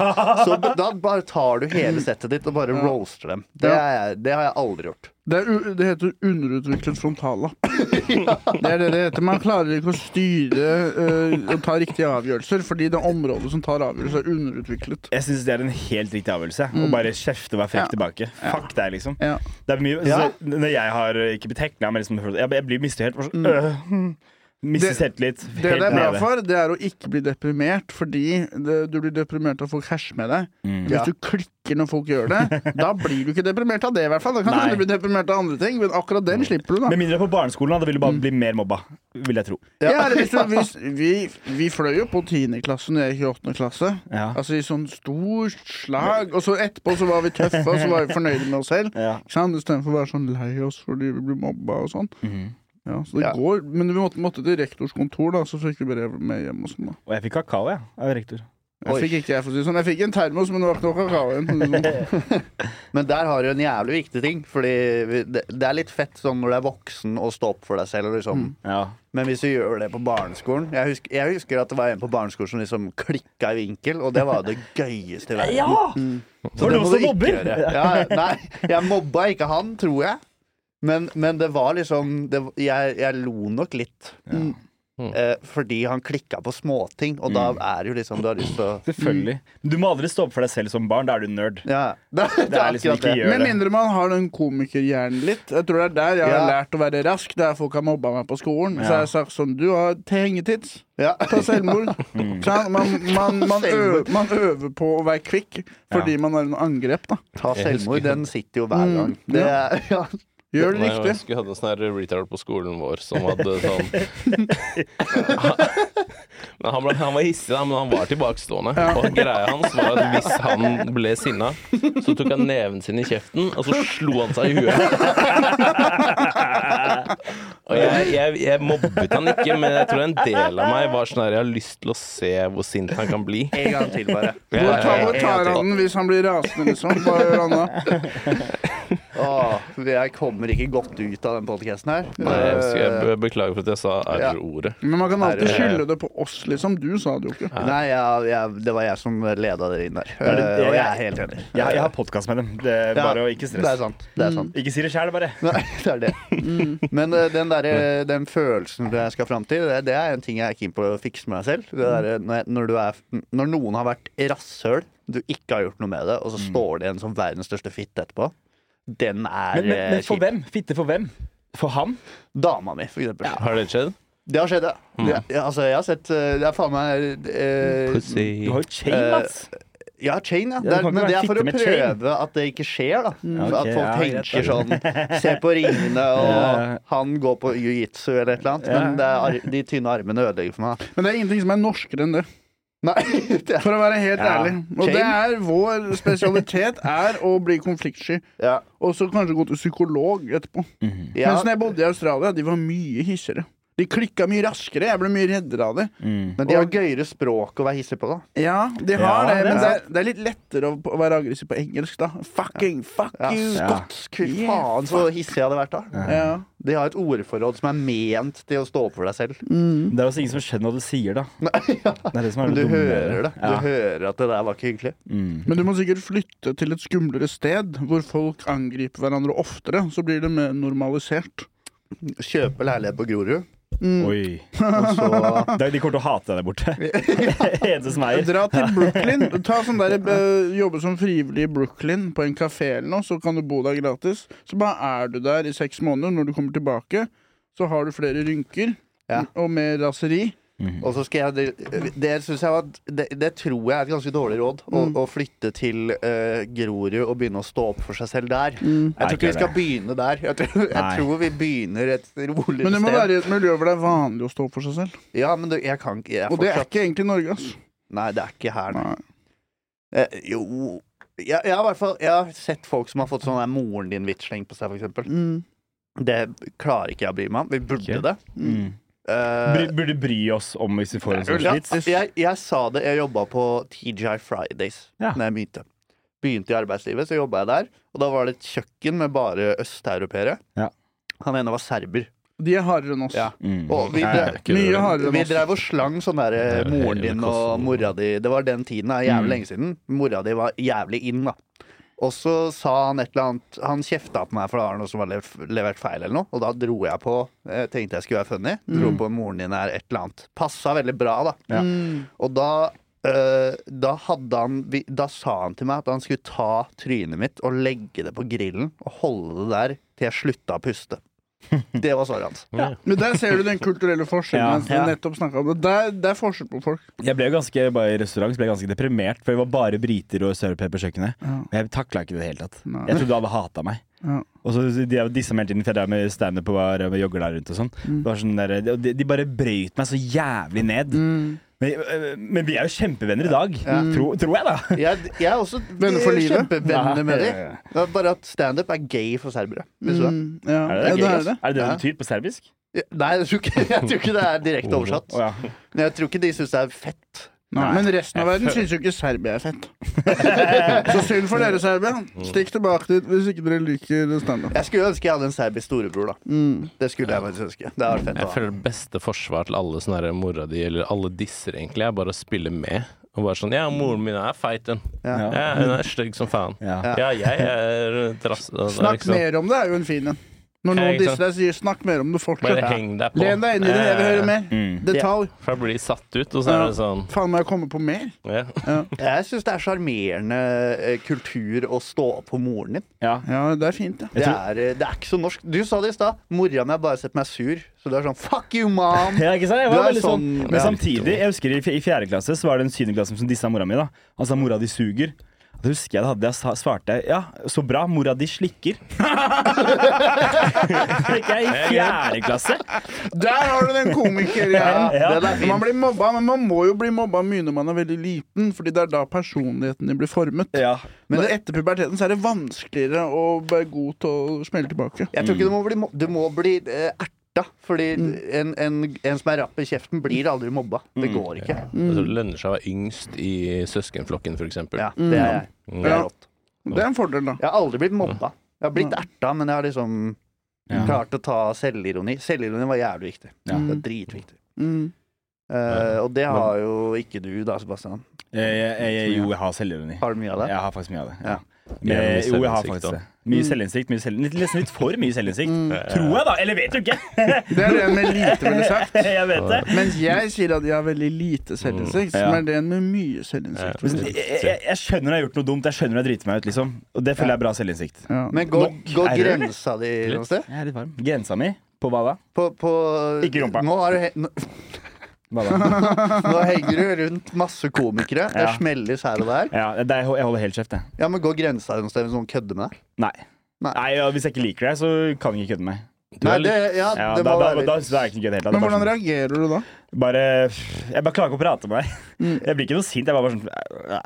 Speaker 1: så b- da bare tar du hele settet ditt og bare roaster dem. Det, er, det har jeg aldri gjort.
Speaker 3: det, er u det heter underutviklet
Speaker 1: *laughs*
Speaker 3: frontallapp. Det er det det heter. Man klarer ikke å styre eh, og ta riktige avgjørelser, fordi det området som tar avgjørelser, er underutviklet.
Speaker 2: Jeg syns det er en helt riktig avgjørelse. Å bare kjefte og være frekk
Speaker 3: Ja.
Speaker 2: tilbake. Fuck deg, liksom.
Speaker 3: Ja.
Speaker 2: Det er mye,
Speaker 1: Ja.
Speaker 2: så, når jeg har eh, ikke blitt hekla, men liksom følt- jeg, jeg blir mistet helt bare sånn, øh, hm. Mister
Speaker 3: Det-
Speaker 2: selvtillit.
Speaker 3: Det
Speaker 2: helt
Speaker 3: det er bra
Speaker 2: nede.
Speaker 3: for, det er å ikke bli deprimert, fordi det, du blir deprimert av folk herser med deg. Men
Speaker 1: Ja.
Speaker 3: Hvis du klikker når folk gjør det, da blir du ikke deprimert av det, i hvert fall. Da kan
Speaker 2: Nei.
Speaker 3: du bli deprimert av andre ting, men akkurat den slipper du, da.
Speaker 2: Med mindre på barneskolen, da, da vil du bare bli mer mobba. Vil jeg tro.
Speaker 3: Ja, eller
Speaker 1: *laughs*
Speaker 3: hvis du, hvis, vi, vi fløy jo på 10. klasse når jeg gikk i 8. klasse.
Speaker 2: Ja.
Speaker 3: Altså i sånn stort slag. Og så etterpå så var vi tøffe, og så var vi fornøyde med oss selv.
Speaker 2: Ja.
Speaker 3: Ikke sant? Istedenfor å være sånn lei oss fordi vi ble mobba og sånn. Ja, så det
Speaker 1: Ja.
Speaker 3: går. Men vi måtte, måtte til rektors kontor, da, så fikk vi brev med hjem og sånn. da
Speaker 2: Og jeg fikk kakao, jeg, av rektor.
Speaker 1: Oi.
Speaker 3: Jeg fikk ikke jeg, for å si det sånn. Jeg fikk en termos, men det var ikke noe
Speaker 1: *laughs*
Speaker 3: kakao igjen. for å si det Sånn.
Speaker 1: Men der har du en jævlig viktig ting. Fordi vi- det, det er litt fett sånn når du er voksen og står opp for deg selv. Liksom.
Speaker 2: Ja.
Speaker 1: Men hvis du gjør det på barneskolen jeg husker, jeg husker at det var en på barneskolen som liksom klikka i vinkel, og det var det gøyeste i verden. Mm.
Speaker 2: Var det noen som mobber?
Speaker 1: Ja, nei, jeg mobba ikke han, tror jeg. Men, men det var liksom det, jeg, jeg lo nok litt. Mm. Eh, fordi han klikka på småting, og da er det jo liksom Du har lyst til å
Speaker 2: Selvfølgelig. Du må aldri stå opp for deg selv som barn. Da er du nerd.
Speaker 1: Ja, *laughs* det, det,
Speaker 2: Det
Speaker 1: er
Speaker 2: er liksom
Speaker 1: akkurat
Speaker 2: ikke
Speaker 1: det.
Speaker 2: gjør
Speaker 3: Med
Speaker 2: det.
Speaker 3: mindre man har den komikerhjernen litt. Jeg tror det er der jeg har
Speaker 1: Ja.
Speaker 3: lært å være rask. Der folk har mobba meg på skolen. Så
Speaker 2: Ja.
Speaker 3: har jeg sagt sånn Du har hengetids.
Speaker 1: Ja.
Speaker 3: Ta
Speaker 1: *laughs*
Speaker 3: selvmord. Sant? Man, man, man,
Speaker 1: Mm.
Speaker 3: øver,
Speaker 1: Selvmord.
Speaker 3: man øver på å være kvikk fordi man har en angrep. da
Speaker 1: Ta selvmord, den sitter jo hver gang. Det er, Mm. ja.
Speaker 3: Gjør det
Speaker 4: Nei, Jeg
Speaker 3: riktig.
Speaker 4: husker vi hadde en sånn her retard på skolen vår som hadde sånn Men han, ble, han var hissig, da, men han var tilbakestående. Og greia hans var at hvis han ble sinna, så tok han neven sin i kjeften, og så slo han seg i huet. Og jeg, jeg, jeg mobbet han ikke, men jeg tror en del av meg var sånn her Jeg har lyst til å se hvor sint han kan bli.
Speaker 1: En gang til, bare.
Speaker 3: Hvor tar, hvor
Speaker 1: jeg-
Speaker 3: tar
Speaker 1: jeg-
Speaker 3: han den hvis han blir rasende, liksom? Hva
Speaker 1: *laughs*
Speaker 3: gjør han da?
Speaker 1: Åh, jeg kommer ikke godt ut av den podkasten her.
Speaker 4: Nei, jeg, husker, jeg be- beklager for at jeg sa
Speaker 1: Ja.
Speaker 4: r-ordet.
Speaker 3: Men man kan alltid
Speaker 1: Nei, det-
Speaker 3: skylde det på oss, liksom. Du sa det jo ikke.
Speaker 1: Eh, Nei, jeg, jeg, det var jeg som leda dere inn der.
Speaker 2: det-
Speaker 1: Eh, Og jeg er
Speaker 2: jeg-
Speaker 1: helt enig.
Speaker 2: Jeg, jeg har podkast med dem. Det er
Speaker 1: Ja,
Speaker 2: bare å ikke Mm.
Speaker 1: Det er
Speaker 2: stress.
Speaker 1: sant. Det er sant.
Speaker 2: Ikke si det sjæl, bare.
Speaker 1: Nei, det er det.
Speaker 4: Mm.
Speaker 1: Men eh, den, derre- den følelsen du skal fram til, det, det er en ting jeg er keen på å fikse med meg selv. Det derre
Speaker 4: Mm.
Speaker 1: når, jeg- når, du er, når noen har vært rasshøl, du ikke har gjort noe med det, og så
Speaker 2: Mm.
Speaker 1: står det en som verdens største fitte etterpå. Den er
Speaker 2: Men, men,
Speaker 1: eh,
Speaker 2: men for
Speaker 1: kjip.
Speaker 2: hvem? Fitte for hvem? For han?
Speaker 1: Dama mi, for eksempel.
Speaker 4: Har det skjedd?
Speaker 1: Det har skjedd, ja. Jeg, jeg- altså, jeg har sett eh, Det er faen meg eh,
Speaker 4: Pussy.
Speaker 2: Du har jo chain,
Speaker 1: Eh,
Speaker 2: Mats.
Speaker 1: Ja, chain, ja.
Speaker 2: Ja,
Speaker 1: Det
Speaker 2: det
Speaker 1: er,
Speaker 2: kan ikke
Speaker 1: men det
Speaker 2: være
Speaker 1: er for å
Speaker 2: fitte med chain.
Speaker 1: prøve at det ikke skjer, da. at
Speaker 2: ok,
Speaker 1: folk
Speaker 2: ja, greit,
Speaker 1: tenker sånn Se på ringene,
Speaker 2: Ja.
Speaker 1: og han går på jiu-jitsu eller et eller annet. Men det er, ar- de tynne armene ødelegger for meg. *laughs* da.
Speaker 3: Men det er ingenting som er norskere enn det.
Speaker 1: Nei, det er,
Speaker 3: For å være helt
Speaker 2: Ja.
Speaker 3: ærlig. Og det er vår *laughs* spesialitet er å bli konfliktsky.
Speaker 1: ja.
Speaker 3: Og så kanskje gå til psykolog etterpå.
Speaker 1: ja.
Speaker 3: Mens når jeg bodde i Australia, de var mye hissigere. De klikka mye raskere. Jeg ble mye reddere av det.
Speaker 2: Mm.
Speaker 1: Men de har gøyere språk å være hissig på, da.
Speaker 3: Ja, de har
Speaker 2: Ja,
Speaker 3: det, men
Speaker 2: det er
Speaker 3: det er, det er litt lettere å, å være aggressiv på engelsk, da. Fucking, fuck
Speaker 1: Ja,
Speaker 3: you!
Speaker 1: Skotsk, fy
Speaker 3: Yeah,
Speaker 1: faen så hissig jeg hadde vært da.
Speaker 3: Ja.
Speaker 1: De har et ordforråd som er ment til å stå opp for deg selv.
Speaker 2: Det er også ingen som skjønner hva du sier, da.
Speaker 1: *laughs*
Speaker 2: Det er det som er
Speaker 1: Men du
Speaker 2: det dumme med
Speaker 1: hører det. Du
Speaker 2: Ja.
Speaker 1: hører at det der var ikke hyggelig.
Speaker 3: Men du må sikkert flytte til et skumlere sted, hvor folk angriper hverandre oftere. Så blir det mer normalisert.
Speaker 1: Kjøpe leilighet på Grorud,
Speaker 2: Oi.
Speaker 1: og så
Speaker 2: Da- De kommer til å hate deg
Speaker 1: *laughs*
Speaker 2: der borte. *laughs* Eneste som eier.
Speaker 3: Dra til Brooklyn. Ta sånn der, eh, jobbe som frivillig i Brooklyn på en kafé eller noe, så kan du bo der gratis. Så bare er du der i seks måneder. Når du kommer tilbake, så har du flere rynker
Speaker 1: Ja.
Speaker 3: og mer raseri.
Speaker 1: Og så skal jeg Det synes jeg var det, det tror jeg er et ganske dårlig råd. Å,
Speaker 3: Mm.
Speaker 1: å flytte til eh, Grorud og begynne å stå opp for seg selv der. Jeg
Speaker 2: Nei,
Speaker 1: tror
Speaker 2: ikke
Speaker 1: ikke vi skal
Speaker 2: det.
Speaker 1: begynne der. Jeg tror,
Speaker 2: Nei.
Speaker 1: jeg tror vi begynner et roligere
Speaker 3: Men det må
Speaker 1: sted.
Speaker 3: være i et miljø hvor det er vanlig å stå opp for seg selv.
Speaker 1: Ja, men det, jeg kan ikke jeg
Speaker 3: Og det er
Speaker 1: fortsatt-
Speaker 3: ikke egentlig Norge, ass.
Speaker 1: Nei, det er ikke her, nei.
Speaker 3: Nei.
Speaker 1: Eh, jo jeg, jeg, har i hvert fall, jeg har sett folk som har fått sånn der moren din-vits slengt på seg, for eksempel.
Speaker 3: Mm.
Speaker 1: Det klarer ikke jeg å bry meg om. Vi burde
Speaker 2: Ok.
Speaker 1: det.
Speaker 2: Mm.
Speaker 1: Eh,
Speaker 2: Bry- Burde bry oss om hvis vi får en sånn
Speaker 1: ja,
Speaker 2: vits.
Speaker 1: jeg, jeg sa det, jeg jobba på TJ Fridays
Speaker 2: Ja.
Speaker 1: Når jeg begynte. Begynte i arbeidslivet, så jobba jeg der. Og da var det et kjøkken med bare østeuropeere.
Speaker 2: Ja.
Speaker 1: Han ene var serber.
Speaker 3: De er hardere enn oss.
Speaker 1: Ja.
Speaker 2: Mm.
Speaker 1: Og vi,
Speaker 4: Nei, det
Speaker 1: drev,
Speaker 4: er ikke det.
Speaker 3: Mye hardere enn
Speaker 1: vi
Speaker 3: oss.
Speaker 1: drev og slang sånn der eh,
Speaker 4: Det er Mm. jo
Speaker 1: moren
Speaker 4: hele
Speaker 1: din
Speaker 4: Kosovo.
Speaker 1: og mora di Det var den tiden, det er jævlig lenge siden. Mora di var jævlig inn, da. Og så sa han et eller annet Han kjefta på meg for det var noe som var lev- levert feil, eller noe. Og da dro jeg på eh, Tenkte jeg skulle være funny. Dro på moren din er et eller annet. Passa veldig bra, da.
Speaker 3: Mm.
Speaker 1: Og da eh, da, hadde han, vi- da sa han til meg at han skulle ta trynet mitt og legge det på grillen og holde det der til jeg slutta å
Speaker 4: *laughs*
Speaker 1: puste. Det var svaret hans.
Speaker 3: Men der ser du den kulturelle
Speaker 2: Ja.
Speaker 3: forskjellen. Ja.
Speaker 1: Ja.
Speaker 3: nettopp snakket om det. Der, det er forskjell på folk.
Speaker 2: Jeg ble jo ganske, bare i restaurant så ble jeg ganske deprimert, for vi var bare briter og søreuropeere på kjøkkenet.
Speaker 3: Ja.
Speaker 2: Og jeg takla ikke det i det hele tatt.
Speaker 3: Nei.
Speaker 2: Jeg trodde alle hata meg.
Speaker 3: Ja.
Speaker 2: Og så de har dissa meg hele tiden, for jeg drev med standup og var med jogger der rundt og sånn. Det var sånn der, og de, de bare brøyt meg så jævlig ned. Men, øh, men vi er jo kjempevenner i dag, tro, tror jeg, da.
Speaker 1: Jeg, jeg er også
Speaker 3: Venner for livet?
Speaker 1: kjempevenner med
Speaker 2: Nei.
Speaker 1: dem. Det er bare at standup er gay for serbere. Visste du det?
Speaker 3: Mm. Ja.
Speaker 2: Er det
Speaker 3: Ja,
Speaker 2: det,
Speaker 3: det
Speaker 2: gøy,
Speaker 3: er
Speaker 2: ass?
Speaker 3: det.
Speaker 2: Er det det
Speaker 1: Ja.
Speaker 2: det betyr på serbisk?
Speaker 1: Ja, Nei, jeg tror ikke, jeg tror ikke det er direkte oversatt.
Speaker 2: Å ja.
Speaker 1: Men jeg tror ikke de syns det er fett.
Speaker 3: Nei.
Speaker 2: Nei.
Speaker 3: Men resten av
Speaker 2: Jeg
Speaker 3: verden
Speaker 2: føl-
Speaker 3: syns jo ikke Serbia er fett. Så synd for dere, Serbia. Stikk tilbake dit hvis ikke dere liker standup.
Speaker 1: Jeg skulle ønske jeg hadde en serbisk storebror, da.
Speaker 3: Mm.
Speaker 1: Det skulle jeg faktisk ønske. Det hadde vært
Speaker 4: Jeg
Speaker 1: fett.
Speaker 4: føler det beste forsvar til alle sånne her mora di, eller alle disser egentlig, er bare å spille med. Og bare sånn Ja, moren min er feit, den.
Speaker 1: Da. Ja.
Speaker 2: Ja.
Speaker 4: Ja, hun er stygg som faen.
Speaker 2: Ja.
Speaker 1: Ja.
Speaker 4: Ja, jeg er altså, liksom. trass...
Speaker 3: Snakk mer om det er jo en fin en. Når
Speaker 4: Ja,
Speaker 3: noen
Speaker 4: ikke
Speaker 3: disser
Speaker 4: sant?
Speaker 3: deg, sier 'snakk mer om det', fortsett.
Speaker 4: Bare heng Eh, deg på.
Speaker 3: Len deg inn i det, jeg vil høre mer.
Speaker 2: Mm.
Speaker 3: Detalj.
Speaker 4: For jeg blir satt ut, og så er det sånn
Speaker 3: Faen, må jeg komme på mer?
Speaker 4: ja.
Speaker 1: Jeg syns det er sjarmerende eh, kultur å stå opp for moren din.
Speaker 2: ja.
Speaker 3: Ja, det er fint, ja.
Speaker 1: Det
Speaker 2: Jeg
Speaker 1: er,
Speaker 2: tror-
Speaker 1: eh, det er ikke så norsk. Du sa det i stad. Mora mi har bare sett meg sur. Så du er sånn fuck you, mom!
Speaker 2: Ja, ikke sant? Jeg
Speaker 1: Du
Speaker 2: var
Speaker 1: er
Speaker 2: veldig sånn,
Speaker 1: sånn- ja.
Speaker 2: men samtidig, jeg husker i f- i fjerde klasse så var det en syvendeklasse som dissa mora mi. da Han sa 'mora di suger'. Da husker jeg da hadde jeg sa- svarte jeg 'ja, så bra, mora di slikker'. *laughs* Fikk jeg i fjerde klasse.
Speaker 3: Der har du den
Speaker 4: *laughs*
Speaker 3: komikergreien.
Speaker 2: Ja,
Speaker 1: den er
Speaker 3: Man blir mobba, men man må jo bli mobba mye når man er veldig liten, Fordi det er da personligheten din blir formet.
Speaker 2: Ja.
Speaker 3: Men etter puberteten så er det vanskeligere å være god til å smelle tilbake.
Speaker 1: Jeg
Speaker 2: Mm.
Speaker 1: tror ikke du må bli, mo- du må bli eh, erta. Fordi en, en, en som er rapp i kjeften, blir aldri mobba. Det
Speaker 2: Mm.
Speaker 1: går ikke.
Speaker 3: Mm.
Speaker 4: Jeg tror det lønner seg å være yngst i søskenflokken, for eksempel. Mm.
Speaker 1: Ja, det er jeg.
Speaker 2: Mm.
Speaker 1: Det er
Speaker 3: Ja.
Speaker 1: rått.
Speaker 3: Det er en fordel, da.
Speaker 1: Jeg har aldri blitt mobba. Jeg har blitt erta, men jeg har liksom
Speaker 2: Ja.
Speaker 1: klart å ta selvironi. Selvironi var jævlig viktig.
Speaker 2: Ja.
Speaker 1: Det er dritviktig.
Speaker 3: Mm.
Speaker 1: Eh, og det har jo ikke du, da, Sebastian.
Speaker 2: Jeg, jeg, jeg, jo, jeg har selvironi.
Speaker 1: Har du mye av det?
Speaker 2: Jeg har faktisk mye av det.
Speaker 1: Ja.
Speaker 2: Men,
Speaker 4: Mye
Speaker 2: jo, jeg har
Speaker 4: selvinnsikt,
Speaker 2: faktisk
Speaker 4: da. Mm.
Speaker 2: det. Mye selvinnsikt. Mye selv, litt- nesten litt for mye selvinnsikt. Tror jeg, da. Eller vet jo ikke.
Speaker 3: Det er det en med lite ville sagt.
Speaker 2: jeg vet det.
Speaker 3: Mens jeg sier at jeg har veldig lite selvinnsikt,
Speaker 2: Ja.
Speaker 3: som er det en med mye selvinnsikt.
Speaker 2: Jeg, jeg, jeg skjønner jeg har gjort noe dumt. Jeg skjønner jeg driter meg ut, liksom. Og det føler jeg er bra selvinnsikt.
Speaker 3: Ja.
Speaker 1: Men går,
Speaker 2: Nok
Speaker 1: går
Speaker 2: er det, eller?
Speaker 1: grensa di noe sted?
Speaker 2: Jeg er litt varm. Grensa mi på hva da?
Speaker 1: På, på
Speaker 2: Ikke rumpa.
Speaker 1: Nå, har du, he- nå,
Speaker 2: Hva da? *laughs*
Speaker 1: nå henger du rundt masse komikere. Det
Speaker 2: Ja.
Speaker 1: smelles her og der.
Speaker 2: Ja, det, er- jeg holder helt kjeft, jeg.
Speaker 1: Ja, Men går grensa di noe sted hvis noen kødder med deg?
Speaker 2: Nei.
Speaker 1: Nei.
Speaker 2: Nei, ja, Hvis jeg ikke liker deg, så kan jeg ikke kødde med meg.
Speaker 1: Nei, det, ja,
Speaker 2: Ja,
Speaker 1: det
Speaker 2: da,
Speaker 1: må
Speaker 2: da,
Speaker 1: være
Speaker 2: da,
Speaker 1: *laughs*
Speaker 2: da, er jeg ikke kødd helt. da. Det
Speaker 3: Men
Speaker 2: er
Speaker 3: hvordan
Speaker 2: bare,
Speaker 3: reagerer du da?
Speaker 2: sånn, bare Jeg bare klarer ikke å prate med deg. Jeg blir ikke noe sint. Jeg bare, bare sånn ja.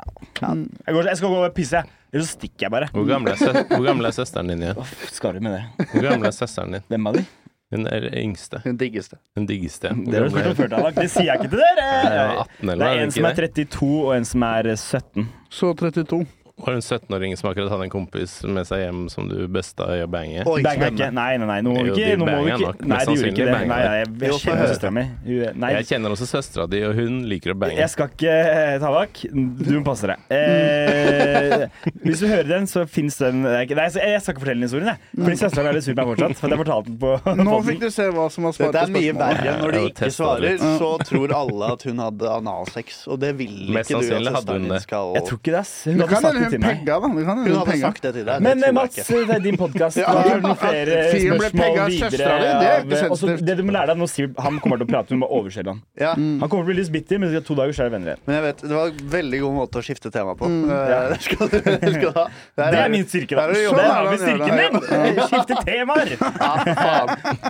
Speaker 2: jeg, går, jeg skal gå og pisse, jeg. Eller så stikker jeg bare.
Speaker 4: Hvor gammel, er sø Hvor gammel er søsteren din igjen?
Speaker 2: Uff, Skal du med det?
Speaker 4: Hvor gammel er søsteren din?
Speaker 2: Hvem av de?
Speaker 4: Hun er yngste.
Speaker 1: Hun diggeste.
Speaker 4: Hun diggeste.
Speaker 2: *laughs*
Speaker 4: Hvor
Speaker 2: Det har du spurt
Speaker 4: gammel er
Speaker 2: om før, Tallak. Det sier jeg ikke til dere.
Speaker 4: hun? Hun var 18
Speaker 2: Det
Speaker 4: eller
Speaker 2: er
Speaker 4: noe,
Speaker 2: en som
Speaker 4: ikke
Speaker 2: er
Speaker 4: det?
Speaker 2: 32, og en som er 17.
Speaker 3: Så 32.
Speaker 4: Var det en 17-åring som akkurat hadde en kompis med seg hjem som du besta i å bange?
Speaker 1: Oi,
Speaker 2: Banga ikke.
Speaker 1: spennende.
Speaker 2: Nei, nei, nei. Nå må
Speaker 4: Jo,
Speaker 2: vi ikke,
Speaker 4: de
Speaker 2: nå må vi
Speaker 4: banga nok,
Speaker 2: ikke.
Speaker 4: mest
Speaker 2: Nei, de gjorde ikke
Speaker 4: sannsynlig
Speaker 2: det.
Speaker 4: banga
Speaker 2: Nei,
Speaker 4: de.
Speaker 2: jeg,
Speaker 1: Jo,
Speaker 2: jeg
Speaker 1: få
Speaker 2: kjenner
Speaker 1: høre.
Speaker 2: søstera mi. Hun- Nei,
Speaker 4: Jeg kjenner også søstera di, og hun liker å bange.
Speaker 2: Jeg skal ikke Tallak. Du må passe deg. Eh, hvis du hører den, så fins den Nei, så jeg skal ikke fortelle den historien, jeg. Fordi søstera mi er litt sur på meg fortsatt. For jeg fortalte den på
Speaker 3: Mm. Nå
Speaker 2: podden.
Speaker 3: fikk du se hva som var svaret
Speaker 1: Dette er
Speaker 3: på
Speaker 1: mye
Speaker 3: spørsmålet.
Speaker 1: verre. Når de
Speaker 4: Jeg
Speaker 1: ikke
Speaker 4: testet
Speaker 1: svarer,
Speaker 4: litt.
Speaker 2: liksom.
Speaker 1: så tror alle at hun hadde analsex. Og det vil
Speaker 4: Mest
Speaker 1: ikke du at
Speaker 4: sannsynlig hadde hun
Speaker 1: søsteren din
Speaker 4: det.
Speaker 1: skal
Speaker 2: Jeg tror ikke det, ass. Hun
Speaker 3: Det
Speaker 2: hadde
Speaker 3: kan
Speaker 2: sagt
Speaker 3: hende
Speaker 2: det det til meg.
Speaker 3: pegga, da. Det kan
Speaker 1: Hun
Speaker 3: hende hun
Speaker 1: hadde
Speaker 3: pegga.
Speaker 1: sagt det til deg.
Speaker 2: Men
Speaker 1: det tror
Speaker 2: eh,
Speaker 1: jeg
Speaker 2: Mats,
Speaker 1: ikke.
Speaker 2: det er din podkast.
Speaker 3: Ja,
Speaker 2: Har du noen flere
Speaker 3: at fyren ble
Speaker 2: spørsmål
Speaker 3: pegga av
Speaker 2: videre?
Speaker 3: søstera di, det er ikke
Speaker 2: av- også,
Speaker 3: sensitivt.
Speaker 2: det du må lære deg nå, Sivert, han kommer til å prate, du må overkjøre han.
Speaker 1: Ja.
Speaker 2: Han kommer til å bli litt bitter, men etter to dager så er det venner igjen.
Speaker 1: Men jeg vet, det var en veldig god måte å skifte tema på. Eh, *laughs* Det skal du det skal du ha. Der
Speaker 2: Mm. Det er min styrke, da.
Speaker 1: der er det
Speaker 2: Der har vi
Speaker 3: Sånn er det,
Speaker 2: styrken din! *laughs* Skifte temaer!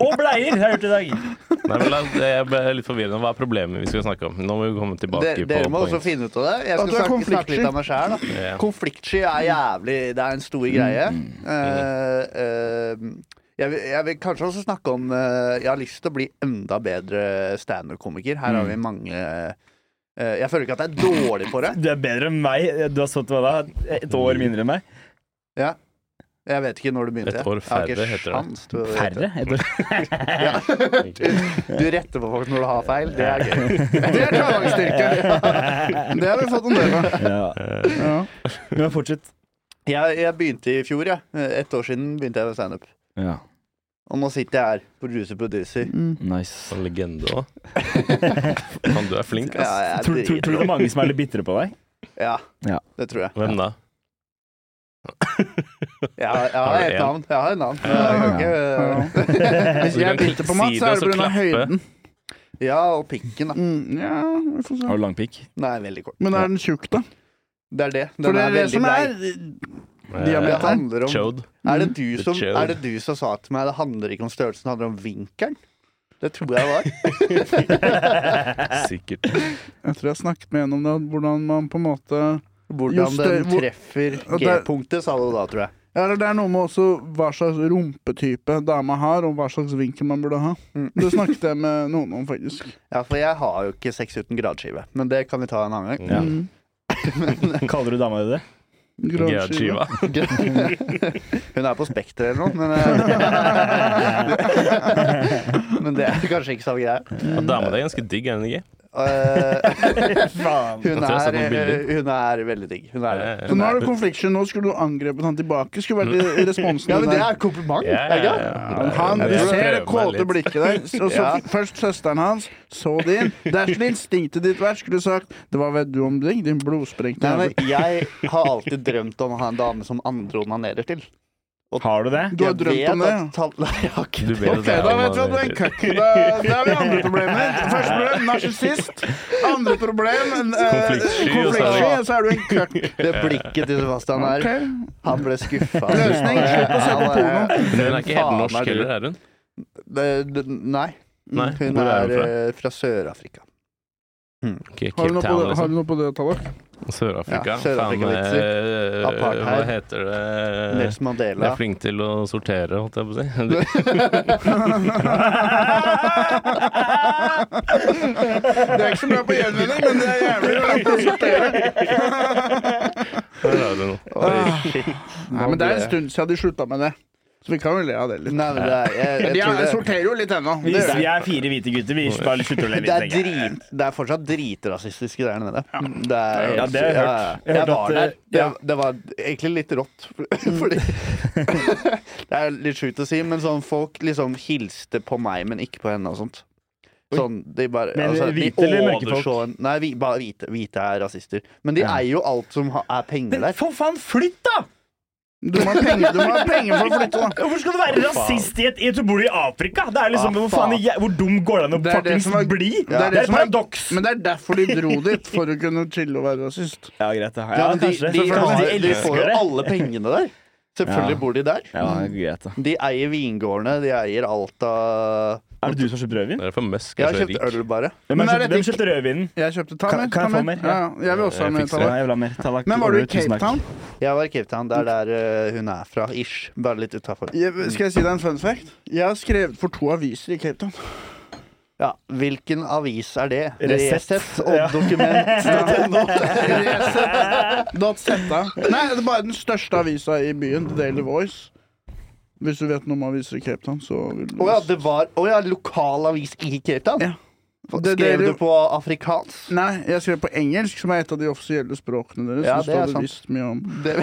Speaker 2: Og bleier, har jeg hørt i dag.
Speaker 4: Nei, men la, jeg ble litt forvirrende. Hva er problemet vi skal snakke om? Nå må vi komme tilbake
Speaker 1: Dere,
Speaker 4: på
Speaker 1: dere må også
Speaker 4: poeng.
Speaker 1: finne ut av det. Jeg
Speaker 3: At
Speaker 1: skal snakke,
Speaker 3: du er
Speaker 1: snakke
Speaker 3: konfliktsky.
Speaker 1: litt av meg sjæl.
Speaker 4: Ja. Mm.
Speaker 1: Konfliktsky er jævlig Det er en stor greie. Eh, eh, jeg, vil, jeg vil kanskje også snakke om eh, Jeg har lyst til å bli enda bedre standup-komiker. Her har
Speaker 4: Mm.
Speaker 1: vi mange eh, Jeg føler ikke at jeg er dårlig på det.
Speaker 2: Du er bedre enn meg. Du har stått hva da, et år mindre enn meg.
Speaker 1: Ja. Jeg vet ikke når du begynte.
Speaker 4: Et år
Speaker 1: Jeg har
Speaker 4: færre
Speaker 1: ikke
Speaker 4: heter det.
Speaker 1: sjans til å vite.
Speaker 2: Færre? Et
Speaker 1: *laughs*
Speaker 2: år.
Speaker 1: Du retter på folk når du har feil. Det er
Speaker 4: *laughs*
Speaker 1: gøy.
Speaker 3: Det er
Speaker 2: *laughs*
Speaker 3: klarlagsstyrke. Det har vi fått en del av.
Speaker 2: Ja.
Speaker 4: Eh,
Speaker 3: Ja.
Speaker 2: Men fortsett.
Speaker 1: Jeg, jeg begynte i fjor, jeg. Ja. Ett år siden begynte jeg med standup.
Speaker 2: Ja.
Speaker 1: Og nå sitter jeg her, producer, producer.
Speaker 3: Mm.
Speaker 2: Nice.
Speaker 4: Sånn legende òg. Faen, du er flink,
Speaker 1: Ja,
Speaker 4: ass.
Speaker 1: jeg er
Speaker 2: Tror, tror, tror du det er mange som er litt bitre på deg?
Speaker 1: Ja,
Speaker 2: Ja.
Speaker 1: det tror jeg.
Speaker 4: Hvem da?
Speaker 1: Jeg har, jeg har
Speaker 4: Har du
Speaker 1: et
Speaker 4: en?
Speaker 1: navn. Jeg har et navn. Jeg kan *laughs* ikke- øh,
Speaker 3: Hvis jeg biter på Mats, så er det pga. høyden.
Speaker 1: Ja, og pikken, da.
Speaker 3: Mm, ja, vi får se.
Speaker 2: Har du lang pikk?
Speaker 1: Den er veldig kort.
Speaker 3: Men er den tjukk, da?
Speaker 1: Det er det. Den
Speaker 3: For det
Speaker 1: er
Speaker 3: er det
Speaker 1: veldig
Speaker 3: som er
Speaker 1: bleik. Det handler om
Speaker 4: Eh, Chode.
Speaker 1: er det, du
Speaker 4: The
Speaker 1: som,
Speaker 4: chill.
Speaker 1: er det du som sa til meg det handler ikke om størrelsen, det handler om vinkelen? Det tror jeg var.
Speaker 4: Sikkert.
Speaker 3: Jeg tror jeg har snakket med en om det, hvordan man på en måte
Speaker 1: Hvordan
Speaker 3: Just det,
Speaker 1: den
Speaker 3: hvor-
Speaker 1: treffer
Speaker 3: Og der-
Speaker 1: G-punktet, sa du da, tror jeg.
Speaker 3: Ja, eller Det er noe med også hva slags rumpetype dama har, og hva slags vinkel man burde ha.
Speaker 1: Mm.
Speaker 3: Det snakket jeg med noen om, faktisk.
Speaker 1: *laughs* Ja, For jeg har jo ikke sex uten gradskive, men det kan vi ta en annen gang.
Speaker 4: Ja.
Speaker 2: *laughs*
Speaker 3: Mm.
Speaker 2: Kaller du dama di det?
Speaker 3: Gradskive.
Speaker 4: Georgiva.
Speaker 1: *laughs* Hun er på Spekter eller noe, men eh, *laughs* Men det er kanskje ikke samme greie.
Speaker 4: Og dama di er ganske digg, er hun ikke?
Speaker 1: Eh,
Speaker 2: Faen.
Speaker 1: hun,
Speaker 4: tror jeg har sett
Speaker 1: er,
Speaker 4: noen bilder.
Speaker 1: hun er veldig digg. Hun er det.
Speaker 4: Ja, ja, ja.
Speaker 3: Så nå er det konfliksjon. Nå skulle du angrepet han tilbake. Skulle
Speaker 4: Mm.
Speaker 3: vært i-
Speaker 1: *laughs*
Speaker 3: responsen
Speaker 1: Ja, men
Speaker 3: din
Speaker 1: det
Speaker 3: der.
Speaker 1: er et kompliment.
Speaker 4: Ja,
Speaker 1: er det ikke?
Speaker 4: ja, ja.
Speaker 3: Men Han
Speaker 4: Jeg prøver
Speaker 3: ser det
Speaker 4: meg
Speaker 3: kåte
Speaker 4: litt.
Speaker 3: blikket der.
Speaker 4: *laughs*
Speaker 3: Og så
Speaker 1: Ja.
Speaker 3: først søsteren hans, så din. Dersom instinktet ditt vært, skulle du sagt 'Det var vet du om deg, din blodsprengte
Speaker 1: Nei,
Speaker 3: jævel'.
Speaker 1: men jeg har alltid drømt om å ha en dame som andre onanerer til.
Speaker 2: Har du det?
Speaker 3: Du har
Speaker 1: Jeg
Speaker 3: drømt
Speaker 1: vet
Speaker 3: om det?
Speaker 1: at tal- *laughs* Nei, jeg har ikke
Speaker 4: Du vet
Speaker 3: Ok,
Speaker 4: at det er
Speaker 3: da vet vi
Speaker 4: han
Speaker 3: at du er en
Speaker 4: heter.
Speaker 3: køkk. Da, da har vi andre problemer. Første problem narsissist. Andre problem eh,
Speaker 4: Konfliktsky, og så er
Speaker 3: konfliktsky,
Speaker 4: det-
Speaker 3: og så er du en køkk. *laughs*
Speaker 1: Det blikket til Sebastian her.
Speaker 3: Ok.
Speaker 1: Han ble skuffa.
Speaker 3: Løsning. Slutt å se på porno.
Speaker 4: Men hun er ikke helt norsk heller, er hun?
Speaker 1: Nei.
Speaker 4: Nei,
Speaker 1: Hun
Speaker 4: hvor er hun
Speaker 1: er
Speaker 4: fra?
Speaker 1: eh, fra Sør-Afrika.
Speaker 4: Okay,
Speaker 3: Har du
Speaker 4: Cape
Speaker 3: noe på
Speaker 4: Town,
Speaker 3: det, har
Speaker 4: liksom.
Speaker 3: du noe på det tallet?
Speaker 4: Sør-Afrika.
Speaker 1: Ja, Sør-Afrika-vitser.
Speaker 4: Faen, eh,
Speaker 1: Apartheid.
Speaker 4: Hva heter Eh, det
Speaker 1: Nelson
Speaker 4: Jeg
Speaker 1: Mandela.
Speaker 4: er flink til å sortere, holdt jeg på å si.
Speaker 3: Det er ikke så bra på gjenvinning, men det er jævlig bra på å
Speaker 1: *laughs*
Speaker 3: sortere.
Speaker 4: Der har du noe.
Speaker 1: Oi, shit.
Speaker 3: Nei, men det er en stund siden de slutta med det. Så vi kan jo le av det litt.
Speaker 1: Nei, men det er, jeg, jeg,
Speaker 3: De
Speaker 1: tror
Speaker 3: er,
Speaker 1: det,
Speaker 3: sorterer jo litt ennå.
Speaker 1: *laughs*
Speaker 2: Vi,
Speaker 3: Det gjør de.
Speaker 2: vi er fire hvite gutter. Vi skal slutte å leve
Speaker 1: det, er
Speaker 2: litt lenger.
Speaker 1: drit, det er fortsatt dritrasistiske der nede. Det er,
Speaker 2: Ja, det har jeg hørt.
Speaker 1: Jeg,
Speaker 2: Jeg har hørt
Speaker 1: var
Speaker 2: at,
Speaker 1: der.
Speaker 2: eh,
Speaker 1: Det,
Speaker 2: ja.
Speaker 1: det var egentlig litt rått. *laughs* Fordi *laughs* Det er litt sjukt å si, men sånn folk liksom hilste på meg, men ikke på henne og sånt. Sånn, de bare
Speaker 2: Men
Speaker 1: altså,
Speaker 2: hvite
Speaker 1: de
Speaker 2: eller mørke folk?
Speaker 1: overså- Nei, vi, bare hvite. Hvite er rasister. Men de eier jo alt som ha, er penger
Speaker 2: Men
Speaker 1: der.
Speaker 2: for faen, flytt, da!
Speaker 3: Du må ha penger, du må ha penger for å flytte, da.
Speaker 2: Hvorfor skal du være rasist i et i- Du bor i Afrika! Det er liksom,
Speaker 1: Ah,
Speaker 2: hvor, faen,
Speaker 1: faen.
Speaker 2: jeg, hvor dum går det an å
Speaker 3: Det er det
Speaker 2: fuckings
Speaker 3: som er-
Speaker 2: bli?
Speaker 3: det
Speaker 2: Det
Speaker 3: er det
Speaker 2: er et
Speaker 3: som er-
Speaker 2: paradoks!
Speaker 3: Men det er derfor de dro dit, for å kunne chille og være rasist.
Speaker 2: Ja, greit. da. Ja,
Speaker 1: Ja, men de,
Speaker 2: kanskje.
Speaker 1: de,
Speaker 2: Kanskje
Speaker 1: har, de får
Speaker 2: elsker
Speaker 1: jo
Speaker 2: det.
Speaker 1: alle pengene der. Selvfølgelig
Speaker 2: Ja.
Speaker 1: bor de der.
Speaker 2: Ja, greit da.
Speaker 1: De eier vingårdene, de eier alt av
Speaker 2: Er det du som har kjøpt rødvin?
Speaker 4: Det er derfor Musk
Speaker 1: Jeg
Speaker 4: er
Speaker 1: har
Speaker 4: så
Speaker 1: kjøpt
Speaker 4: rik.
Speaker 1: øl, bare.
Speaker 2: Hvem,
Speaker 3: Men
Speaker 2: har
Speaker 3: er
Speaker 2: kjøpt,
Speaker 3: det
Speaker 2: hvem kjøpte rødvinen?
Speaker 3: Jeg kjøpte ta
Speaker 2: Kan-
Speaker 3: mer.
Speaker 2: kan jeg
Speaker 3: ta
Speaker 2: få
Speaker 3: mer?
Speaker 2: mer?
Speaker 3: Ja, ja, jeg vil også ha
Speaker 4: Jeg
Speaker 3: mer. ta
Speaker 4: fikser det.
Speaker 2: Ja,
Speaker 3: mer.
Speaker 2: jeg vil ha mer. Ta lakk.
Speaker 3: Men var du i
Speaker 2: Tusen
Speaker 3: Cape
Speaker 2: takk.
Speaker 3: Town?
Speaker 1: Jeg var i Cape Town. Det er der eh, hun er fra, ish. Bare litt utafor.
Speaker 3: Jeg, skal jeg si deg en fun fact? Jeg har skrevet for to aviser i Cape Town.
Speaker 1: Ja, hvilken avis er det?
Speaker 2: Resett.
Speaker 1: og
Speaker 2: Ja.
Speaker 3: *laughs*
Speaker 1: dokument.
Speaker 3: Resett.zeta. Nei, det er bare den største avisa i byen, Daily Voice. Hvis du vet noe om aviser i Cape Town, så vil du
Speaker 1: Å ja, det var Å ja, lokal avis i Cape Town?
Speaker 3: Ja.
Speaker 1: Skrev
Speaker 3: Det- det-
Speaker 1: du på afrikansk?
Speaker 3: Nei, jeg skrev på engelsk, som er et av de offisielle språkene deres.
Speaker 1: Ja,
Speaker 3: som
Speaker 1: det er
Speaker 3: står
Speaker 1: sant.
Speaker 3: visst mye om.
Speaker 1: *laughs* Det,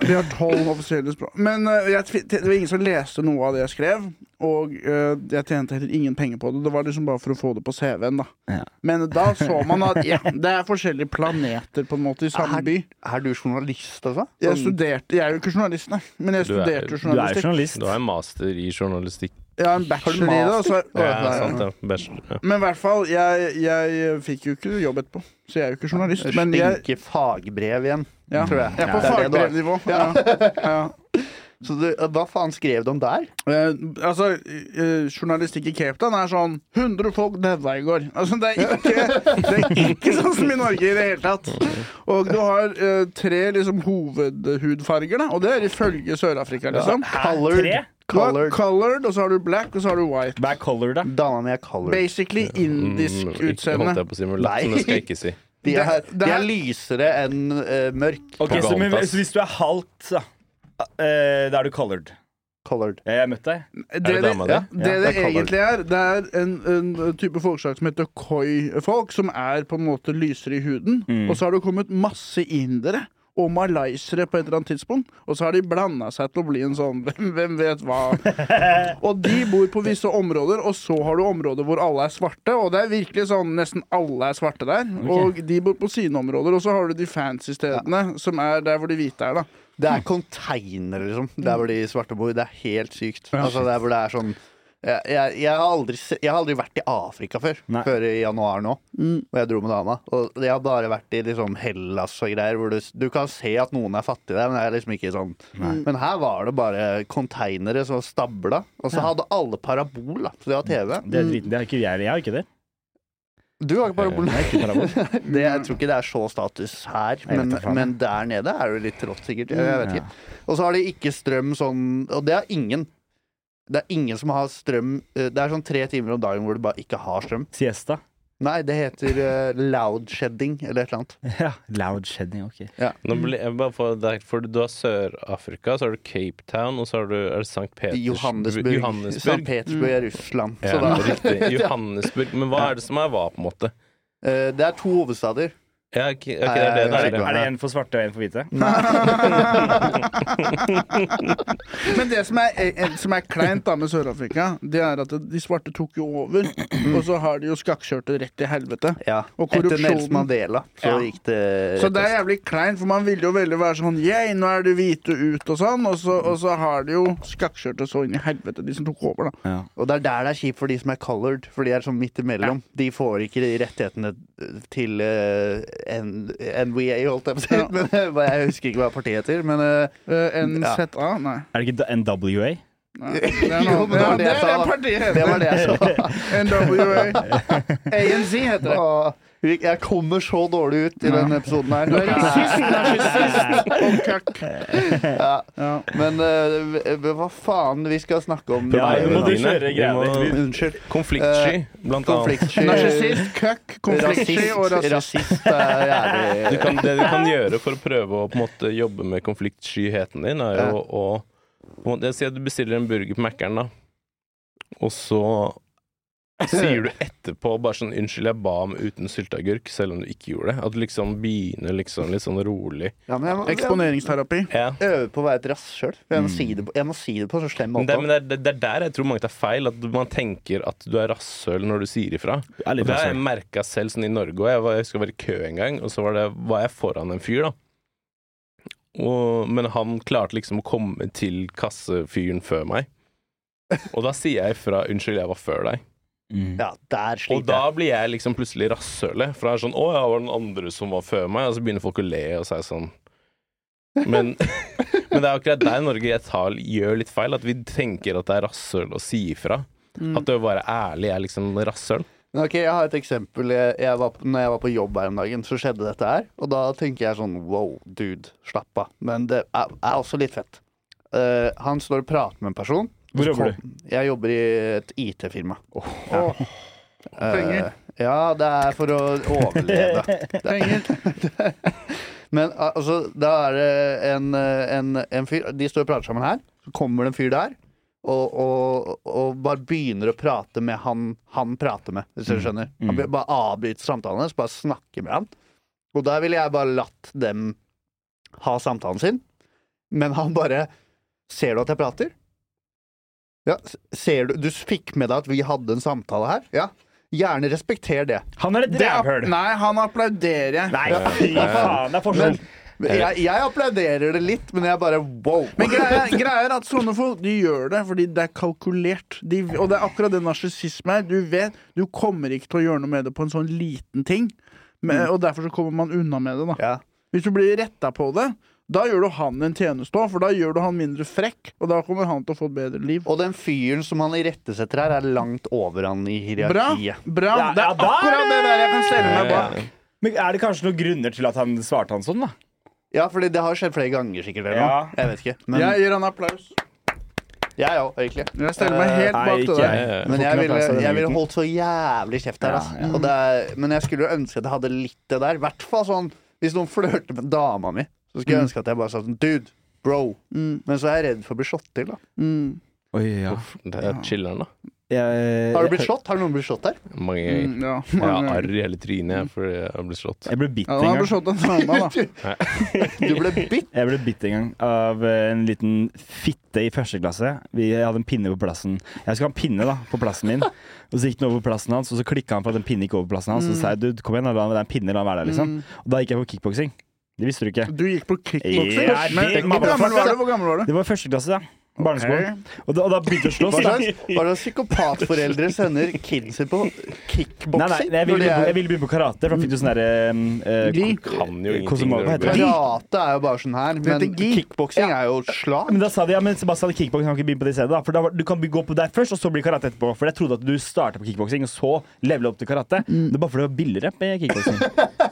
Speaker 3: *laughs* Vi har tolv offisielle språk. Men eh, jeg, tvi- det var ingen som leste noe av det jeg skrev. Og eh, jeg tjente heller ingen penger på det. Det var liksom bare for å få det på CV-en, da.
Speaker 2: Ja.
Speaker 3: Men da så man at ja, det er forskjellige planeter på en måte i samme by.
Speaker 1: Er du journalist, altså?
Speaker 3: Jeg studerte Jeg er jo ikke journalist, nei, men jeg
Speaker 4: Du er-
Speaker 3: studerte
Speaker 2: Du er jo
Speaker 3: journalistikk.
Speaker 2: journalist.
Speaker 4: Du har en master i journalistikk.
Speaker 3: Jeg har en bachelor i det. og så-
Speaker 4: Ja,
Speaker 3: Å, nei,
Speaker 4: sant
Speaker 3: ja.
Speaker 4: det. Bachelor. Ja.
Speaker 3: Men i hvert fall, jeg, jeg fikk jo ikke jobb etterpå, så jeg er jo ikke journalist.
Speaker 1: Stinke
Speaker 3: Men jeg,
Speaker 1: fagbrev igjen,
Speaker 3: ja,
Speaker 1: tror jeg.
Speaker 3: jeg er på
Speaker 1: Det er det du har.
Speaker 3: fagbrevnivå. Ja. Ja.
Speaker 1: Så du, hva faen skrev du om der?
Speaker 3: Eh, altså, eh, journalistikk i Cape Town er sånn 100 folk daua i går. Altså, det er ikke, det er ikke sånn som i Norge i det hele tatt. Og du har eh, tre liksom, hovedhudfarger, da, og det er ifølge Sør-Afrika, liksom.
Speaker 1: Colored.
Speaker 2: Tre?
Speaker 3: Du har
Speaker 1: Colored.
Speaker 3: colored, og så har du black, og så har du white.
Speaker 2: Hva er color, da?
Speaker 1: Dama mi er colored.
Speaker 3: Basically indisk
Speaker 4: Mm, ikke holdt
Speaker 3: utseende.
Speaker 4: jeg på å si, men latt,
Speaker 1: Nei.
Speaker 4: men det skal jeg ikke si.
Speaker 1: De er,
Speaker 3: Det- det
Speaker 1: de
Speaker 3: er-
Speaker 1: er lysere enn eh, mørk
Speaker 2: Ok, så, men,
Speaker 4: Pocahontas.
Speaker 2: så hvis du er halvt, da, eh, da er du colored.
Speaker 1: colored.
Speaker 2: Jeg har møtt deg.
Speaker 3: Det
Speaker 4: det
Speaker 3: det,
Speaker 4: dama di?
Speaker 3: ja, det, det
Speaker 4: Ja, det er colored.
Speaker 3: egentlig er, det er en, en type folkeslag som heter khoi-folk, som er på en måte lysere i huden. Og så har det kommet masse indere og malaysere på et eller annet tidspunkt. Og så har de blanda seg til å bli en sånn *laughs* hvem, hvem vet hva. Og de bor på visse områder, og så har du områder hvor alle er svarte. Og det er virkelig sånn nesten alle er svarte der. Og de bor på sine områder, og så har du de fancy stedene, som er der hvor de hvite er, da.
Speaker 1: Det er container, liksom. Der hvor de svarte bor. Det er helt sykt. Altså, der hvor det er sånn jeg, jeg, jeg, har aldri, se- jeg har aldri vært i Afrika før,
Speaker 2: Nei.
Speaker 1: før i januar nå. Og jeg dro med dama. Og jeg har bare vært i liksom Hellas og greier, hvor du, du kan se at noen er fattige der, men det er liksom ikke sånn. Men her var det bare konteinere som stabla, og så hadde alle parabol, da. Så det var TV.
Speaker 2: Det er driten. Det har ikke jeg. Jeg har ikke det.
Speaker 1: Du har ikke parabol.
Speaker 2: Jeg har ikke parabol.
Speaker 1: Det, jeg tror ikke det er så status her,
Speaker 2: vet
Speaker 1: men,
Speaker 2: da faen.
Speaker 1: men der nede er det jo litt rått, sikkert. Jeg vet
Speaker 2: Ja.
Speaker 1: ikke. Og så har de ikke strøm sånn Og det er ingen. Det er ingen som har strøm eh, Det er sånn tre timer om dagen hvor du bare ikke har strøm.
Speaker 2: Siesta.
Speaker 1: Nei, det heter eh, loud shedding eller et eller annet.
Speaker 2: Ja. Loud shedding, ok.
Speaker 4: Nå blir jeg bare for, det er- for Du har Sør-Afrika, så har du Cape Town, og så har du er det St. Peters,
Speaker 1: Johannesburg. St.
Speaker 4: Johannesburg.
Speaker 1: Petersburg er Russland.
Speaker 4: Ja,
Speaker 1: Så da,
Speaker 4: riktig. Johannesburg. Men hva er det som er hva, på en måte?
Speaker 1: eh, det er to hovedstader.
Speaker 4: Ja, ok, ok, det er det det
Speaker 2: Er
Speaker 4: er.
Speaker 2: det,
Speaker 4: ja.
Speaker 2: er det en for svarte og en for hvite?
Speaker 3: Men det som er, eh, som er kleint da med Sør-Afrika, det er at de svarte tok jo over. Og så har de jo skakkjørt det rett til helvete.
Speaker 1: Ja.
Speaker 3: Og
Speaker 1: Etter
Speaker 3: korrupsjonen.
Speaker 1: Nelson Mandela så
Speaker 3: Ja.
Speaker 1: gikk det
Speaker 3: Så det er jævlig kleint, for man ville jo veldig være sånn Yeah, nå er det hvite ut og sånn, og så, og så har de jo skakkjørt det så inn i helvete, de som tok over, da.
Speaker 1: Og det er der det er kjipt for de som er colored, for de er sånn midt imellom. De får ikke de rettighetene til eh, N- NVA, holdt jeg på å si.
Speaker 3: Ja.
Speaker 1: *laughs* Men, eh, hva- jeg husker ikke hva partiet heter, men eh,
Speaker 3: Eh,
Speaker 1: Ja.
Speaker 3: NZA? Nei.
Speaker 2: Er det ikke NWA?
Speaker 3: Nei. Det er,
Speaker 1: *laughs* Jo,
Speaker 3: noe,
Speaker 1: men det var det
Speaker 3: det, er, det,
Speaker 1: jeg sa.
Speaker 3: er partiet
Speaker 1: det var
Speaker 3: heter.
Speaker 1: det jeg så.
Speaker 3: *laughs* NWA. ANC heter det.
Speaker 1: Åh, Jeg kommer så dårlig ut i denne episoden her.
Speaker 3: Du er rasist, narsissist og køkk.
Speaker 1: Ja.
Speaker 3: Ja.
Speaker 1: Men eh, hva faen vi skal snakke om?
Speaker 2: Ja,
Speaker 1: Nei,
Speaker 2: nå må du
Speaker 1: men-
Speaker 4: Dine.
Speaker 2: kjøre greia
Speaker 4: Vi må-
Speaker 2: di.
Speaker 1: Unnskyld.
Speaker 4: *laughs* Konfliktsky, blant annet.
Speaker 1: Konfliktsky.
Speaker 3: Narsissist, køkk, konfliktsky og
Speaker 1: Rasist,
Speaker 3: rasist.
Speaker 1: rasist er
Speaker 4: Du
Speaker 1: jævlig
Speaker 4: kan, det du kan gjøre for å prøve å på en måte jobbe med konfliktskyheten din, er jo å på en måte, Jeg sier at du bestiller en burger på Mækkern, da, og så
Speaker 2: *laughs*
Speaker 4: sier du etterpå bare sånn 'Unnskyld, jeg ba om uten sylteagurk', selv om du ikke gjorde det. At du liksom begynner liksom litt sånn rolig.
Speaker 1: ja, men jeg, må- jeg må
Speaker 3: Eksponeringsterapi.
Speaker 4: Ja.
Speaker 1: øve på å være et rasshøl. Jeg, må si det på- jeg må si det på en så slem måte.
Speaker 4: Mm. Men det, men det, er- det er der jeg tror mange tar feil, at man tenker at du er rasshøl når du sier ifra.
Speaker 2: Du er litt
Speaker 4: Og det har jeg
Speaker 2: rasshøl.
Speaker 4: merka selv sånn i Norge òg. Jeg, var- jeg husker jeg var i kø en gang, og så var, det, var jeg foran en fyr, da. Og, men han klarte liksom å komme til kassefyren før meg. Og da sier jeg ifra 'unnskyld, jeg var før deg'.
Speaker 2: Mm.
Speaker 1: Ja, der
Speaker 4: Og
Speaker 1: sliter jeg.
Speaker 4: da blir jeg liksom plutselig rasshølet. For det er sånn 'å ja, var det den andre som var før meg?' Og så begynner folk å le, og så er jeg sånn men, *laughs* men det er akkurat der Norge jeg tar, gjør litt feil. At vi tenker at det er rasshøl å si ifra.
Speaker 2: Mm.
Speaker 4: At det å være ærlig er liksom rasshøl.
Speaker 1: Men ok, Jeg har et eksempel. Jeg, jeg var, når jeg var på jobb her om dagen, så skjedde dette her. Og da tenker jeg sånn wow, dude, slapp av. Men det er, er også litt fett. Eh, han står og prater med en person.
Speaker 2: Hvor jobber du?
Speaker 1: Jeg jobber i et IT-firma.
Speaker 3: Åh, Penger.
Speaker 1: Ja, det er
Speaker 2: *laughs*
Speaker 1: for å overleve.
Speaker 3: Penger.
Speaker 1: Men al- altså, da er det en, eh, en, en fyr De står og prater sammen her. Så kommer det en fyr der og, og, og bare begynner å prate med han han prater med, hvis du
Speaker 3: Mm.
Speaker 1: skjønner. Han be- bare avbryter samtalen hans, bare snakker med han. Og der ville jeg bare latt dem ha samtalen sin. Men han bare Ser du at jeg prater? Ja, s- ser du, du fikk med deg at vi hadde en samtale her? Ja. Gjerne respekter det.
Speaker 2: Han er et
Speaker 3: Det app-
Speaker 2: rævhøl.
Speaker 3: nei, han applauderer jeg.
Speaker 2: Nei, fy faen, det er forskjell.
Speaker 1: Jeg, jeg applauderer det litt, men jeg bare wow.
Speaker 3: Eh. Men greia, greia er at sånne folk de gjør det fordi det er kalkulert. De, og det er akkurat det narsissisme er. Du vet, du kommer ikke til å gjøre noe med det på en sånn liten ting. Men, Og derfor så kommer man unna med det. da
Speaker 1: Ja.
Speaker 3: Hvis du blir retta på det, da gjør du han en tjeneste òg, for da gjør du han mindre frekk, og da kommer han til å få et bedre liv.
Speaker 1: Og den fyren som han irettesetter her, er langt over han i
Speaker 3: Bra!
Speaker 1: hierarkiet.
Speaker 3: bra
Speaker 2: Ja,
Speaker 3: Det
Speaker 2: ja,
Speaker 3: er
Speaker 2: da er
Speaker 3: akkurat det der jeg kan stelle meg
Speaker 4: Ja,
Speaker 3: bak.
Speaker 4: ja.
Speaker 2: Men er det kanskje noen grunner til at han svarte han sånn, da?
Speaker 1: Ja, for det har skjedd flere ganger, sikkert. Eller
Speaker 2: Ja.
Speaker 1: noe. Jeg vet ikke. Men
Speaker 3: Jeg gir han applaus.
Speaker 1: jeg òg, egentlig.
Speaker 3: Jeg stiller meg helt
Speaker 2: Eh, nei,
Speaker 3: bak
Speaker 2: ikke
Speaker 3: til det.
Speaker 2: jeg.
Speaker 1: Men jeg
Speaker 2: Får ikke noe
Speaker 1: ville,
Speaker 2: applaus av den
Speaker 1: jeg ville
Speaker 2: gutten.
Speaker 1: holdt så jævlig kjeft her.
Speaker 2: Ja,
Speaker 1: ass. Og det er, men jeg skulle jo ønske at jeg hadde litt det der. I hvert fall sånn hvis noen flørter med dama mi. Så skulle
Speaker 2: Mm.
Speaker 1: jeg ønske at jeg bare sa sånn Dude, bro. Men så er jeg redd for å bli slått til, da.
Speaker 2: Oi, ja.
Speaker 4: Det er chiller'n, da.
Speaker 2: Jeg,
Speaker 1: Har du blitt slått? Har noen blitt slått der?
Speaker 4: Mange ganger.
Speaker 3: Mm, ja.
Speaker 4: Jeg har arr i hele trynet jeg, fordi Mm. jeg har blitt slått.
Speaker 2: jeg ble bitt
Speaker 3: Ja,
Speaker 2: en
Speaker 3: han har
Speaker 2: gang.
Speaker 3: beslått en dame, da.
Speaker 1: Du ble bitt.
Speaker 2: Jeg ble bitt en gang av eh, en liten fitte i første klasse. Vi jeg hadde en pinne på plassen. Jeg skulle ha en pinne da, på plassen min, og så gikk den over på plassen hans. Og så klikka han for at den pinnen gikk over på plassen hans. Og så
Speaker 1: Mm.
Speaker 2: sa jeg dude, kom igjen, la den pinne la den være der, liksom. Og da gikk jeg på kickboksing. Det visste du ikke.
Speaker 3: Du gikk på kickboksing?
Speaker 2: Ja,
Speaker 3: men
Speaker 2: det-
Speaker 3: hvor gammel var du? Hvor gammel var du?
Speaker 2: Det var i første klasse, da. Barneskolen. Og, da, og da begynte jeg å
Speaker 1: Hva
Speaker 2: slåss. da.
Speaker 1: slags, hva slags psykopatforeldre sender kiden sin på
Speaker 2: Nei, nei,
Speaker 1: kickboksing? når de
Speaker 2: jeg ville begynne på,
Speaker 1: er-
Speaker 2: jeg ville begynne på karate, for da fikk du sånn derre
Speaker 3: Gi.
Speaker 4: Kan jo
Speaker 2: Hvordan må-
Speaker 4: ingenting. når
Speaker 2: hva
Speaker 4: det
Speaker 2: heter
Speaker 4: blir-
Speaker 1: Karate er jo bare sånn her, men
Speaker 3: heter gi.
Speaker 1: kickboksing er jo slag.
Speaker 2: Men da sa de ja, men Sebastian kickboksing kan ikke begynne på det stedet. da For da, var- Du kan gå på der først, og så bli karate etterpå. For jeg trodde at du starta på kickboksing, og så levela opp til karate.
Speaker 3: Mm.
Speaker 2: Det er bare fordi det var billigere med kickboksing.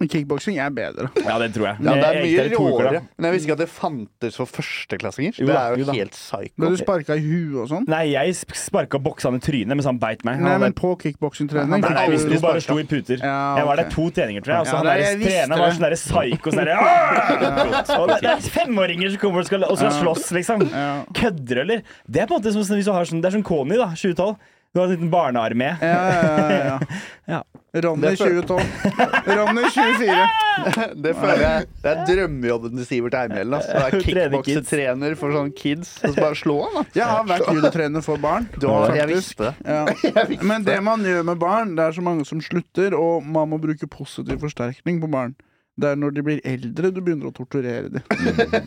Speaker 3: Men kickboksing er bedre.
Speaker 2: *laughs* ja, det tror jeg.
Speaker 1: Ja, det er
Speaker 2: Jeg
Speaker 1: mye
Speaker 2: gikk der i to uker, da.
Speaker 1: råere. Men jeg visste ikke at det fantes for førsteklassinger.
Speaker 2: Jo
Speaker 1: Det
Speaker 2: da,
Speaker 1: er
Speaker 2: jo da.
Speaker 1: jo helt
Speaker 3: *laughs*
Speaker 1: psycho.
Speaker 3: Ble du sparka i huet og sånn?
Speaker 2: Nei, jeg sp- sparka boksene i trynet mens han beit meg. Han
Speaker 3: Nei,
Speaker 2: hadde-
Speaker 3: men på kickboksingtrening?
Speaker 1: Nei,
Speaker 2: Nei, vi sto
Speaker 1: Aldri
Speaker 2: bare
Speaker 1: sparket.
Speaker 2: slo i puter.
Speaker 3: Ja,
Speaker 2: Jeg var
Speaker 3: ok.
Speaker 2: der to treninger, tror jeg. Og så
Speaker 3: Ja,
Speaker 2: han
Speaker 3: nei,
Speaker 2: der
Speaker 3: jeg visste
Speaker 2: treneren var
Speaker 3: det.
Speaker 2: sånn derre psyko
Speaker 3: *laughs*
Speaker 2: sånn derre «Åh!» Og det det er femåringer som kommer og skal, og skal slåss, liksom.
Speaker 3: Ja.
Speaker 2: Kødder, eller? Det er på en måte som hvis du har sånn Det er sånn Kony, da. 2012. Du har en liten barnearmé.
Speaker 3: Ja, ja, ja,
Speaker 2: Ja.
Speaker 3: ja. Ronny
Speaker 1: Det føl-
Speaker 3: 2012. Ronny 24.
Speaker 1: Det føler jeg Det er drømmejobben til Sivert Eimhjellen. ass. Du er
Speaker 2: Trener kids.
Speaker 1: kickboksetrener for sånne kids. Og så bare slå han, da.
Speaker 3: Jeg har vært judotrener for barn.
Speaker 1: Du har, jeg visste
Speaker 3: faktisk.
Speaker 1: det.
Speaker 3: Ja. Men det man gjør med barn, det er så mange som slutter, og man må bruke positiv forsterkning på barn. Det er når de blir eldre du begynner å torturere dem.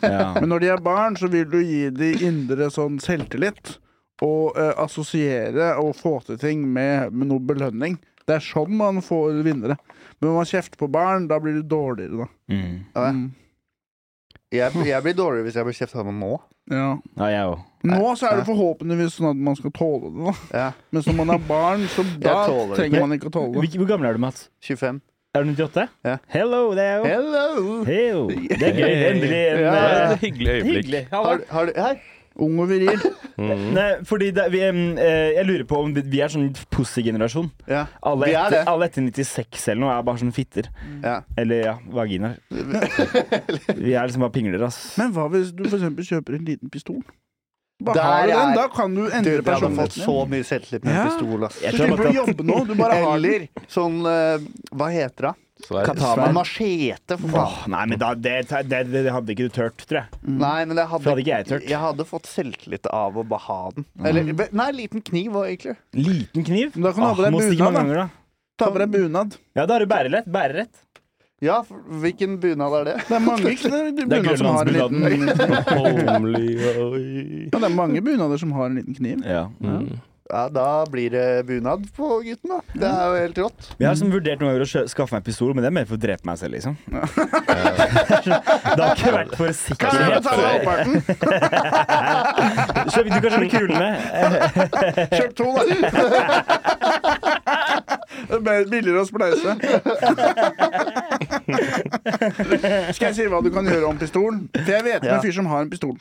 Speaker 2: Ja.
Speaker 3: Men når de er barn, så vil du gi dem indre sånn selvtillit. Og eh, assosiere og få til ting med, med noe belønning. Det er sånn man får vinnere. Men når man kjefter på barn, da blir du dårligere, da.
Speaker 2: Mm.
Speaker 1: Ja.
Speaker 3: Mm.
Speaker 1: Jeg, jeg blir dårligere hvis jeg blir kjefta på nå.
Speaker 3: Ja.
Speaker 2: Ja, jeg òg.
Speaker 3: Nå så er det forhåpentligvis sånn at man skal tåle det, da.
Speaker 1: Ja,
Speaker 3: Men som man er barn, så da
Speaker 1: tåler det.
Speaker 3: trenger man ikke å tåle det.
Speaker 2: Hvor gammel er du, Mats?
Speaker 1: 25.
Speaker 2: Er du 98?
Speaker 1: Ja.
Speaker 2: Hello, det er jo
Speaker 1: Hello!
Speaker 2: Heyo. Det er gøy. Endelig en
Speaker 1: Ja,
Speaker 4: Det er
Speaker 2: eh,
Speaker 4: et hyggelig øyeblikk. Mm,
Speaker 2: Hyggelig. Ja,
Speaker 1: Har,
Speaker 2: da.
Speaker 1: har du Her.
Speaker 3: Ung og viril.
Speaker 2: Nei, fordi det, vi, em, eh, jeg lurer på om vi- vi er sånn pussy-generasjon.
Speaker 1: Ja.
Speaker 2: Alle,
Speaker 1: Vi er
Speaker 2: etter-
Speaker 1: det.
Speaker 2: alle etter 96 eller noe er bare sånn fitter.
Speaker 1: Ja.
Speaker 2: Eller ja, vaginaer. Vi er liksom bare pingler, ass.
Speaker 3: Men hva hvis du for eksempel kjøper en liten pistol? Bare
Speaker 1: Der
Speaker 3: har du den,
Speaker 1: er-
Speaker 3: da kan du
Speaker 1: Du,
Speaker 3: endre
Speaker 1: jeg hadde fått
Speaker 3: personligheten
Speaker 1: så
Speaker 3: din.
Speaker 1: mye selvtillit med
Speaker 3: Ja.
Speaker 1: en pistol. ass.
Speaker 2: Jeg
Speaker 3: Du
Speaker 2: tror
Speaker 3: slipper å
Speaker 2: jeg måtte-
Speaker 3: jobbe nå, du bare har den.
Speaker 1: Eller sånn eh, Hva heter det?
Speaker 4: Svær.
Speaker 2: Katana.
Speaker 1: Machete, for faen.
Speaker 2: Åh, nei, men da, det, det, det, det hadde ikke du tørt, tror jeg.
Speaker 1: Nei, men jeg hadde,
Speaker 2: Mm. For hadde ikke jeg Mm. tørt.
Speaker 1: jeg hadde fått selvtillit av å bare ha den. Eller, nei, liten kniv var egentlig
Speaker 2: Liten kniv?
Speaker 3: Men da kan du ha
Speaker 2: Åh,
Speaker 3: på deg
Speaker 2: må stikke mange
Speaker 3: bunad,
Speaker 2: ganger,
Speaker 3: da.
Speaker 2: da.
Speaker 3: Ta på deg bunad.
Speaker 2: Ja, da har du bærerett. Bærerett.
Speaker 1: Ja, for- hvilken bunad er det?
Speaker 3: Det er mange det er
Speaker 2: Det er
Speaker 3: bunader som har en liten
Speaker 2: grønlandsbunaden.
Speaker 4: Homely, oi.
Speaker 3: *laughs* ja, det er mange bunader som har en liten kniv.
Speaker 2: Ja.
Speaker 4: Mm.
Speaker 1: Ja, Da blir det bunad på gutten, da. Det er jo helt rått.
Speaker 2: Jeg har liksom vurdert noen ganger å kjø- skaffe meg en pistol, men det er mer for å drepe meg selv, liksom.
Speaker 4: Eh, *laughs*
Speaker 2: det har ikke vært for
Speaker 3: Kanskje
Speaker 2: sikkerhet.
Speaker 3: jeg betaler halvparten?
Speaker 2: Så du kan skjønne
Speaker 1: *laughs*
Speaker 2: kulene.
Speaker 3: Kjøp to, *laughs* da. Det blir billigere å
Speaker 1: *laughs*
Speaker 3: spleise. Skal jeg si hva du kan gjøre om pistolen? For jeg vet om
Speaker 1: Ja.
Speaker 3: en fyr som har en pistol.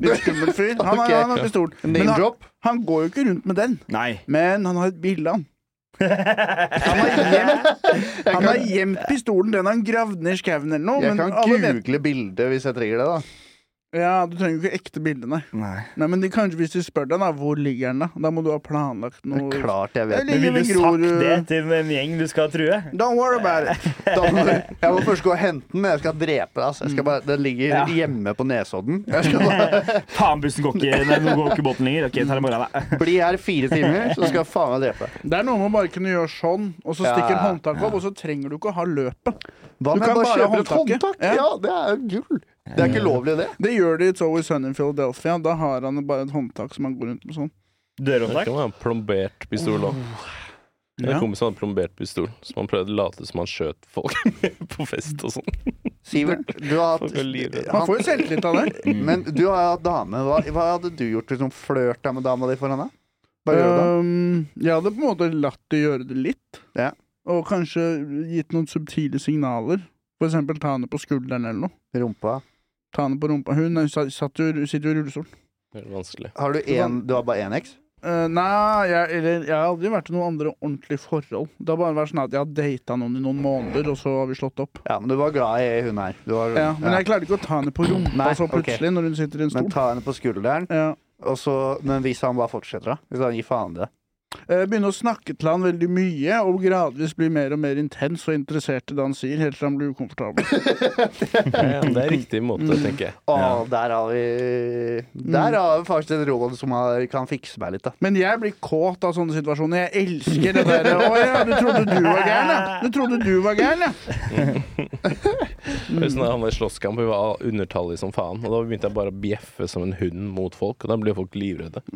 Speaker 3: Litt skummel fyr. Han har,
Speaker 1: Ok.
Speaker 3: han har pistol. Men
Speaker 1: Name
Speaker 3: han,
Speaker 1: drop.
Speaker 3: han går jo ikke rundt med den.
Speaker 2: Nei.
Speaker 3: Men han har et bilde av den. Han har gjemt, han har gjemt pistolen. Den har han gravd ned i skauen eller noe.
Speaker 1: Jeg
Speaker 3: Men
Speaker 1: kan
Speaker 3: alle vet,
Speaker 1: google bildet hvis jeg trenger det, da.
Speaker 3: Ja, Du trenger jo ikke ekte bilde, nei.
Speaker 2: Nei.
Speaker 3: nei men de, kanskje hvis de spør deg, da, hvor ligger den da? Da må du ha planlagt
Speaker 1: Det er
Speaker 3: noe.
Speaker 1: klart jeg
Speaker 3: Jeg
Speaker 1: vet
Speaker 3: ligger
Speaker 1: det.
Speaker 2: Men
Speaker 3: ved
Speaker 2: ville du sagt
Speaker 3: Grorud.
Speaker 2: det til en gjeng du skal true?
Speaker 1: *laughs*
Speaker 3: Don't worry about it.
Speaker 1: Da må, jeg må først gå og hente den, men jeg skal drepe deg. Altså. Jeg skal bare, den ligger
Speaker 2: Mm. Ja.
Speaker 1: hjemme på Nesodden. Jeg skal bare
Speaker 2: Faen, bussen går ikke, nei, nå går ikke båten lenger. Ok, jeg tar det i morgen, da.
Speaker 1: bli her fire timer, så skal jeg faen meg drepe deg.
Speaker 3: Det er noe med å bare kunne gjøre sånn, og så
Speaker 1: Ja,
Speaker 3: stikker en håndtak opp, og så trenger du ikke å ha løpet.
Speaker 1: Hva om
Speaker 3: Du
Speaker 1: jeg
Speaker 3: kan
Speaker 1: bare
Speaker 3: bare ha
Speaker 1: kjøper et
Speaker 3: håndtaket.
Speaker 1: håndtak?
Speaker 3: Ja.
Speaker 1: Ja, det er jo gull. Det er ikke lovlig, det.
Speaker 3: Det gjør de i It's Always Sunny in Philadelphia. Da har han bare et håndtak som han går rundt med sånn.
Speaker 4: Der
Speaker 2: Dørhåndtak.
Speaker 4: kan man ha en plombert pistol òg.
Speaker 3: Ja.
Speaker 4: En kompis hadde en plombert pistol, så man prøvde å late som han skjøt folk *laughs* med på fest og sånn.
Speaker 1: Sivert, du har
Speaker 4: Folk er livredde.
Speaker 1: hatt
Speaker 3: Man får jo selvtillit av det.
Speaker 1: han, Men du har hatt dame. Hva, hva hadde du gjort hvis hun flørta med dama di foran deg? *laughs* Bare gjør det.
Speaker 3: Um, jeg hadde på en måte latt de gjøre det litt.
Speaker 1: Ja.
Speaker 3: Og kanskje gitt noen subtile signaler. For eksempel ta henne på skulderen eller noe.
Speaker 1: Rumpa.
Speaker 3: Ta henne på rumpa. Hun er- sa- satt jo, sitter jo i rullestol.
Speaker 4: Det er vanskelig.
Speaker 1: Har du en, du har bare én eks?
Speaker 3: Eh, nei, jeg, eller, jeg har aldri vært i noen andre ordentlige forhold. Det har bare vært sånn at jeg har data noen i noen måneder, og så har vi slått opp.
Speaker 1: Ja, men du var glad i hun her. Du var,
Speaker 3: Ja, men jeg klarte ikke å ta henne på rumpa
Speaker 1: Nei,
Speaker 3: så
Speaker 1: ok.
Speaker 3: plutselig, når hun sitter i en
Speaker 1: men
Speaker 3: stol.
Speaker 1: ta henne på skulderen,
Speaker 3: Ja.
Speaker 1: og så, men hvis han bare fortsetter, da? Hvis han gir faen i det?
Speaker 3: Eh, Begynne å snakke til han veldig mye, og gradvis bli mer og mer intens og interessert i det han sier, helt til han blir ukomfortabel.
Speaker 4: Ja, men det er riktig Mm. måte, tenker jeg.
Speaker 1: Å,
Speaker 2: Ja.
Speaker 1: der har vi Der har vi faktisk et råd som har, kan fikse meg litt, da.
Speaker 3: Men jeg blir kåt av sånne situasjoner. Jeg elsker det derre Å ja, du trodde du var gæren, ja. Du trodde du var gæren, ja.
Speaker 4: Det er sånn at Han var i slåsskamp, vi var undertallige som faen. Og da begynte jeg bare å bjeffe som en hund mot folk, og da blir folk livredde.
Speaker 3: Det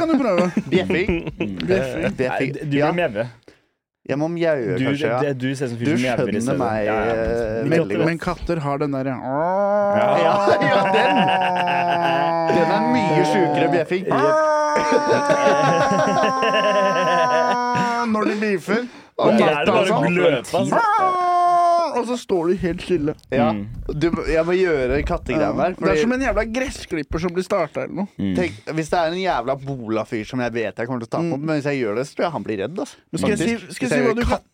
Speaker 3: kan du prøve.
Speaker 1: Bjeffing.
Speaker 3: Bjeffing.
Speaker 2: Nei,
Speaker 1: Bjeffing.
Speaker 2: du
Speaker 1: Ja,
Speaker 2: blir mjaue.
Speaker 1: jeg må mjaue,
Speaker 2: Du,
Speaker 1: kanskje.
Speaker 2: det-
Speaker 1: Ja.
Speaker 2: du ser ut som
Speaker 1: Du
Speaker 2: fyr som mjauer i
Speaker 1: skjønner
Speaker 2: stedet.
Speaker 1: meg
Speaker 2: Ja, ja.
Speaker 1: eh,
Speaker 2: Men-
Speaker 1: veldig godt.
Speaker 3: Men katter har den derre
Speaker 2: Ja,
Speaker 1: Ja, ja, den! Den er mye *laughs* sjukere enn bjeffing.
Speaker 3: Eh. Ah, Når de beefer.
Speaker 2: Der
Speaker 3: Og,
Speaker 2: er det
Speaker 3: natta,
Speaker 2: bare å
Speaker 3: altså. Ah!
Speaker 2: gløpe, altså.
Speaker 3: og så står du helt stille.
Speaker 1: Ja. Mm. Du, jeg må gjøre kattegreiene der.
Speaker 3: Det er som
Speaker 1: Fordi,
Speaker 3: en jævla gressklipper som blir starta eller noe.
Speaker 1: tenk, hvis det er en jævla bola-fyr som jeg vet jeg kommer til å ta
Speaker 3: Mm.
Speaker 1: på, men hvis jeg gjør det, så tror jeg han blir redd. Altså.
Speaker 3: Men skal jeg si-
Speaker 1: Faktisk.
Speaker 3: skal
Speaker 1: Hvis
Speaker 3: jeg si hva
Speaker 1: gjør
Speaker 3: du kan-
Speaker 1: kattelyd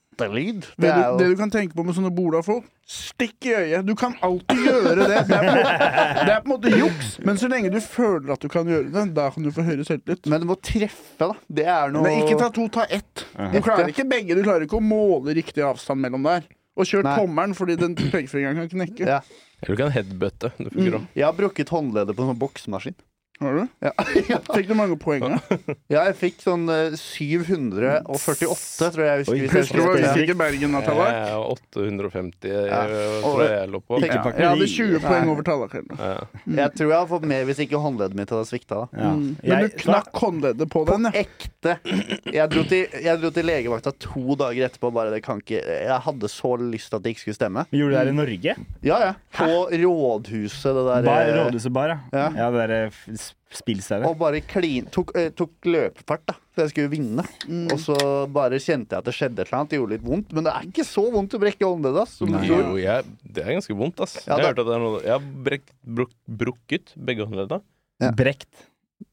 Speaker 3: Det,
Speaker 1: det er
Speaker 3: du, det
Speaker 1: jo
Speaker 3: du kan tenke på med sånne bolafolk, stikk i øyet. Du kan alltid gjøre det. Det er, på en måte, det er på en måte juks, men så lenge du føler at du kan gjøre det, da kan du få høyere selvtillit.
Speaker 1: Men du må treffe, da. Det er noe
Speaker 3: Men ikke ta to, ta ett. Du klarer ikke begge. Du klarer ikke å måle riktig avstand mellom der. Og kjør
Speaker 1: Nei.
Speaker 3: tommelen, fordi den pekefingeren kan knekke.
Speaker 1: Ja.
Speaker 4: Eller du kan headbutte. Det funker òg.
Speaker 1: Jeg har brukket håndleddet på en sånn boksemaskin.
Speaker 3: Har du? *laughs*
Speaker 1: Ja.
Speaker 3: Fikk du mange poeng? da?
Speaker 1: Ja, jeg fikk sånn eh, 748, tror jeg. jeg husker
Speaker 2: Oi,
Speaker 1: hvis jeg
Speaker 2: plutselig
Speaker 3: Husker
Speaker 1: husker
Speaker 3: du hva
Speaker 1: riktig.
Speaker 2: Ja.
Speaker 3: Ulrikke Bergen har
Speaker 4: Jeg
Speaker 3: tallak?
Speaker 4: er 850,
Speaker 1: Ja.
Speaker 4: jeg
Speaker 1: Og-
Speaker 4: eh, tror jeg jeg lå på.
Speaker 1: Tenk-
Speaker 3: Ja,
Speaker 2: Eh,
Speaker 3: jeg hadde 20 poeng over tallak.
Speaker 4: Ja.
Speaker 1: Jeg tror jeg har fått mer hvis ikke håndleddet mitt hadde svikta. da.
Speaker 2: Ja.
Speaker 3: Men
Speaker 2: Jeg-
Speaker 3: du knakk håndleddet på den, Sånn, ja.
Speaker 1: Ekte. Jeg dro, til, jeg dro til legevakta to dager etterpå. Bare det kan ikke Jeg hadde så lyst til at det ikke skulle stemme.
Speaker 2: Vi gjorde det her i Norge.
Speaker 1: Ja, ja. På rådhuset, det der.
Speaker 2: Bar,
Speaker 1: eh,
Speaker 2: rådhuset bar, ja.
Speaker 1: Ja.
Speaker 2: ja det der eh, f- spillstedet.
Speaker 1: Og bare klin, tok, eh, tok løpefart, da. Så jeg skulle vinne. Og så bare kjente jeg at det skjedde et eller annet. Det gjorde litt vondt. Men det er ikke så vondt å brekke håndleddet. ass, som du tror.
Speaker 4: Jo, jeg, det er ganske vondt, ass.
Speaker 1: Ja,
Speaker 4: jeg har
Speaker 1: det-
Speaker 4: hørt at det er noe Jeg har brekt, bruk, brukket begge håndledda.
Speaker 1: Ja.
Speaker 2: Brekt.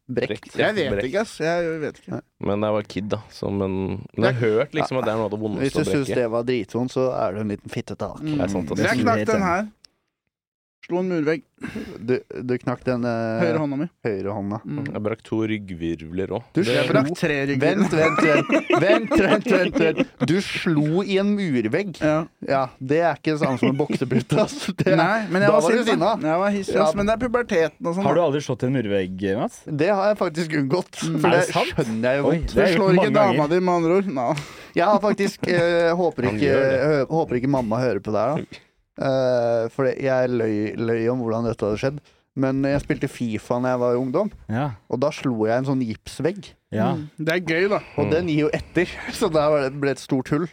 Speaker 1: Brekk.
Speaker 4: Brekt, ja,
Speaker 3: Jeg vet
Speaker 4: brekt.
Speaker 3: ikke, ass. Jeg vet ikke.
Speaker 4: Men da jeg var kid, da. Så, men, men jeg har hørt liksom at det er noe av det
Speaker 1: Hvis
Speaker 4: vondeste
Speaker 1: du
Speaker 4: å
Speaker 1: syns
Speaker 4: brekke.
Speaker 1: det var dritvondt, så er du en liten fittete. da.
Speaker 3: Mm.
Speaker 4: Det er sant, ass.
Speaker 2: Det er altså. som
Speaker 3: Jeg knakk
Speaker 2: det
Speaker 3: den
Speaker 2: heter.
Speaker 3: her. Slo en murvegg.
Speaker 1: Du, du knakk den eh,
Speaker 3: Høyre hånda mi. Mm.
Speaker 1: høyre hånda.
Speaker 2: Mm.
Speaker 4: Jeg brakk to ryggvirvler òg.
Speaker 1: Du
Speaker 3: Jeg brakk tre rygger.
Speaker 1: Vent, vent, vent. vent, vent, vent, vent. Du slo i en murvegg.
Speaker 3: Ja.
Speaker 1: Ja, Det er ikke det samme som en boksepute. ass. Det,
Speaker 3: Nei, men
Speaker 1: da
Speaker 3: jeg var,
Speaker 1: var du
Speaker 3: sint, da.
Speaker 1: sinna.
Speaker 3: Jeg var hissig, ass.
Speaker 1: Ja.
Speaker 3: Men det er puberteten og sånn.
Speaker 2: Har du aldri slått i en murvegg, Mats?
Speaker 1: Det har jeg faktisk unngått. For
Speaker 2: Er
Speaker 1: det
Speaker 2: det sant?
Speaker 1: skjønner jeg jo
Speaker 2: Oi,
Speaker 1: vondt.
Speaker 2: det
Speaker 3: Du
Speaker 2: har jeg gjort
Speaker 3: slår ikke
Speaker 2: mange
Speaker 3: dama
Speaker 2: ganger.
Speaker 3: di, med andre ord. Nå.
Speaker 1: Jeg har faktisk eh, håper,
Speaker 4: Han
Speaker 1: ikke,
Speaker 4: gjør
Speaker 1: hø- håper ikke mamma hører på det her, da. Eh, for det- jeg løy, løy om hvordan dette hadde skjedd. Men jeg spilte Fifa da jeg var ungdom,
Speaker 2: Ja.
Speaker 1: og da slo jeg en sånn gipsvegg.
Speaker 2: ja.
Speaker 3: Det er gøy, da.
Speaker 1: Og den gir jo etter, *laughs* så der var det- ble det et stort hull.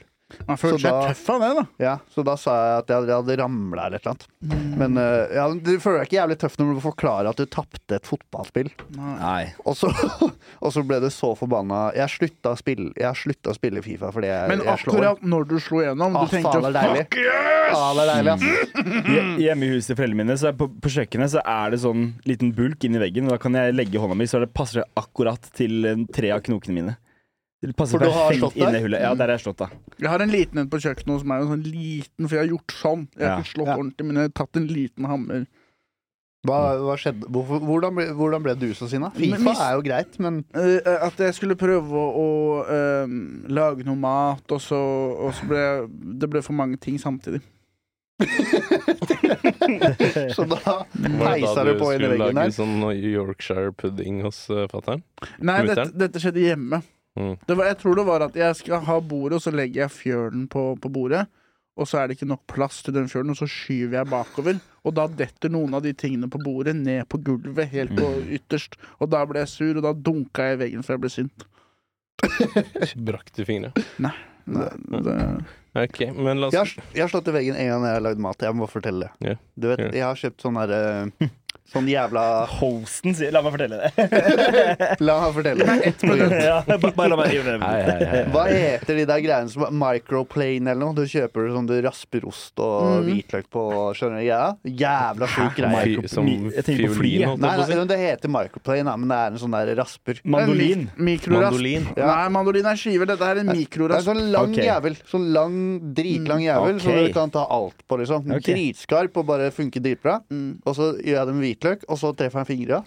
Speaker 3: Man
Speaker 1: Så
Speaker 3: føler seg
Speaker 1: da-
Speaker 3: tøff av det, da.
Speaker 1: Ja, Så da sa jeg at jeg hadde ramla eller et eller annet. Men eh, ja, men du føler deg ikke jævlig tøff når du forklarer at du tapte et fotballspill.
Speaker 2: Nei.
Speaker 1: Og så, *laughs* og så ble du så forbanna. Jeg slutta å spille, jeg slutta å spille Fifa fordi jeg,
Speaker 3: Men
Speaker 1: jeg slår.
Speaker 3: akkurat når du slo gjennom,
Speaker 1: Ah,
Speaker 3: du tenkte
Speaker 1: faen, det er deilig. Ja, det er deilig, ass.
Speaker 2: Hje- Hjemme i huset til foreldrene mine, så er på, på kjøkkenet, så er det sånn liten bulk inni veggen. Og da kan jeg legge hånda mi, så det passer det akkurat til eh, tre av knokene mine. Det passer
Speaker 1: For du har
Speaker 2: perfekt
Speaker 1: slått
Speaker 2: inn
Speaker 1: der?
Speaker 2: i hullet. Ja, der har jeg slått, da.
Speaker 3: Jeg har en liten en på kjøkkenet hos meg, en sånn liten, for jeg har gjort sånn. Jeg har
Speaker 2: Ja.
Speaker 3: ikke slått
Speaker 1: Ja.
Speaker 3: ordentlig, men jeg har tatt en liten hammer.
Speaker 1: Hva, hva skjedde? Hvorfor, hvordan, ble, hvordan ble du så sinna?
Speaker 3: Men
Speaker 1: Fifa
Speaker 3: mis-
Speaker 1: er jo greit, men
Speaker 3: Eh, at jeg skulle prøve å, å eh, lage noe mat, og så, og så ble jeg- det ble for mange ting samtidig.
Speaker 1: Så da *laughs*
Speaker 4: Var det
Speaker 1: peisa
Speaker 4: da
Speaker 1: du
Speaker 4: du
Speaker 1: på inn i
Speaker 4: skulle
Speaker 1: veggen
Speaker 4: lage
Speaker 1: der.
Speaker 4: sånn Yorkshire pudding hos uh, fatter'n?
Speaker 3: Nei, dette,
Speaker 4: Mutter'n?
Speaker 3: dette skjedde hjemme.
Speaker 4: Mm.
Speaker 3: Det var, jeg tror det var at jeg skal ha bordet, og så legger jeg fjølen på, på bordet. Og så er det ikke nok plass til den fjølen, og så skyver jeg bakover. Og da detter noen av de tingene på bordet ned på gulvet, helt på
Speaker 1: Mm.
Speaker 3: ytterst. Og da ble jeg sur, og da dunka jeg i veggen for jeg ble sint.
Speaker 4: Brakk du fingre?
Speaker 3: Det, det,
Speaker 4: Ok, men la
Speaker 1: Jeg
Speaker 4: oss
Speaker 1: har, jeg har slått i veggen en gang når jeg har lagd mat. Jeg må fortelle det.
Speaker 4: Ja.
Speaker 1: Du vet,
Speaker 4: Ja.
Speaker 1: jeg har kjøpt sånn derre *laughs* Sånn jævla
Speaker 2: Hosten sier La meg fortelle det. *laughs*
Speaker 1: La meg fortelle.
Speaker 2: ja, bare, bare la meg rive
Speaker 4: Hei,
Speaker 2: det.
Speaker 4: hei, hei.
Speaker 1: Hva heter de der greiene som microplane eller noe? Du kjøper det sånn du rasper ost
Speaker 2: Mm.
Speaker 1: og hvitløk på. Skjønner du greia? Jævla sjuk greie.
Speaker 4: Fy- Som
Speaker 2: Mi- jeg tenker på fly,
Speaker 4: fiolin,
Speaker 2: jeg.
Speaker 4: holdt
Speaker 1: Nei,
Speaker 4: jeg på å si.
Speaker 1: nei, det heter microplane, da, men det er en sånn der rasper.
Speaker 2: Mandolin.
Speaker 3: Mikrorasp.
Speaker 4: Mandolin.
Speaker 3: Nei, mandolin er skiver. Dette her er
Speaker 1: Det er en
Speaker 3: mikrorasp.
Speaker 1: sånn lang
Speaker 2: Ok. Mm,
Speaker 1: jævel. Sånn lang, dritlang jævel som
Speaker 2: ok.
Speaker 1: du kan ta alt på, liksom.
Speaker 2: Ok. Mm.
Speaker 1: Dritskarp og bare funker dritbra. Og så gjør jeg det med hvitløk, og så treffer jeg fingra.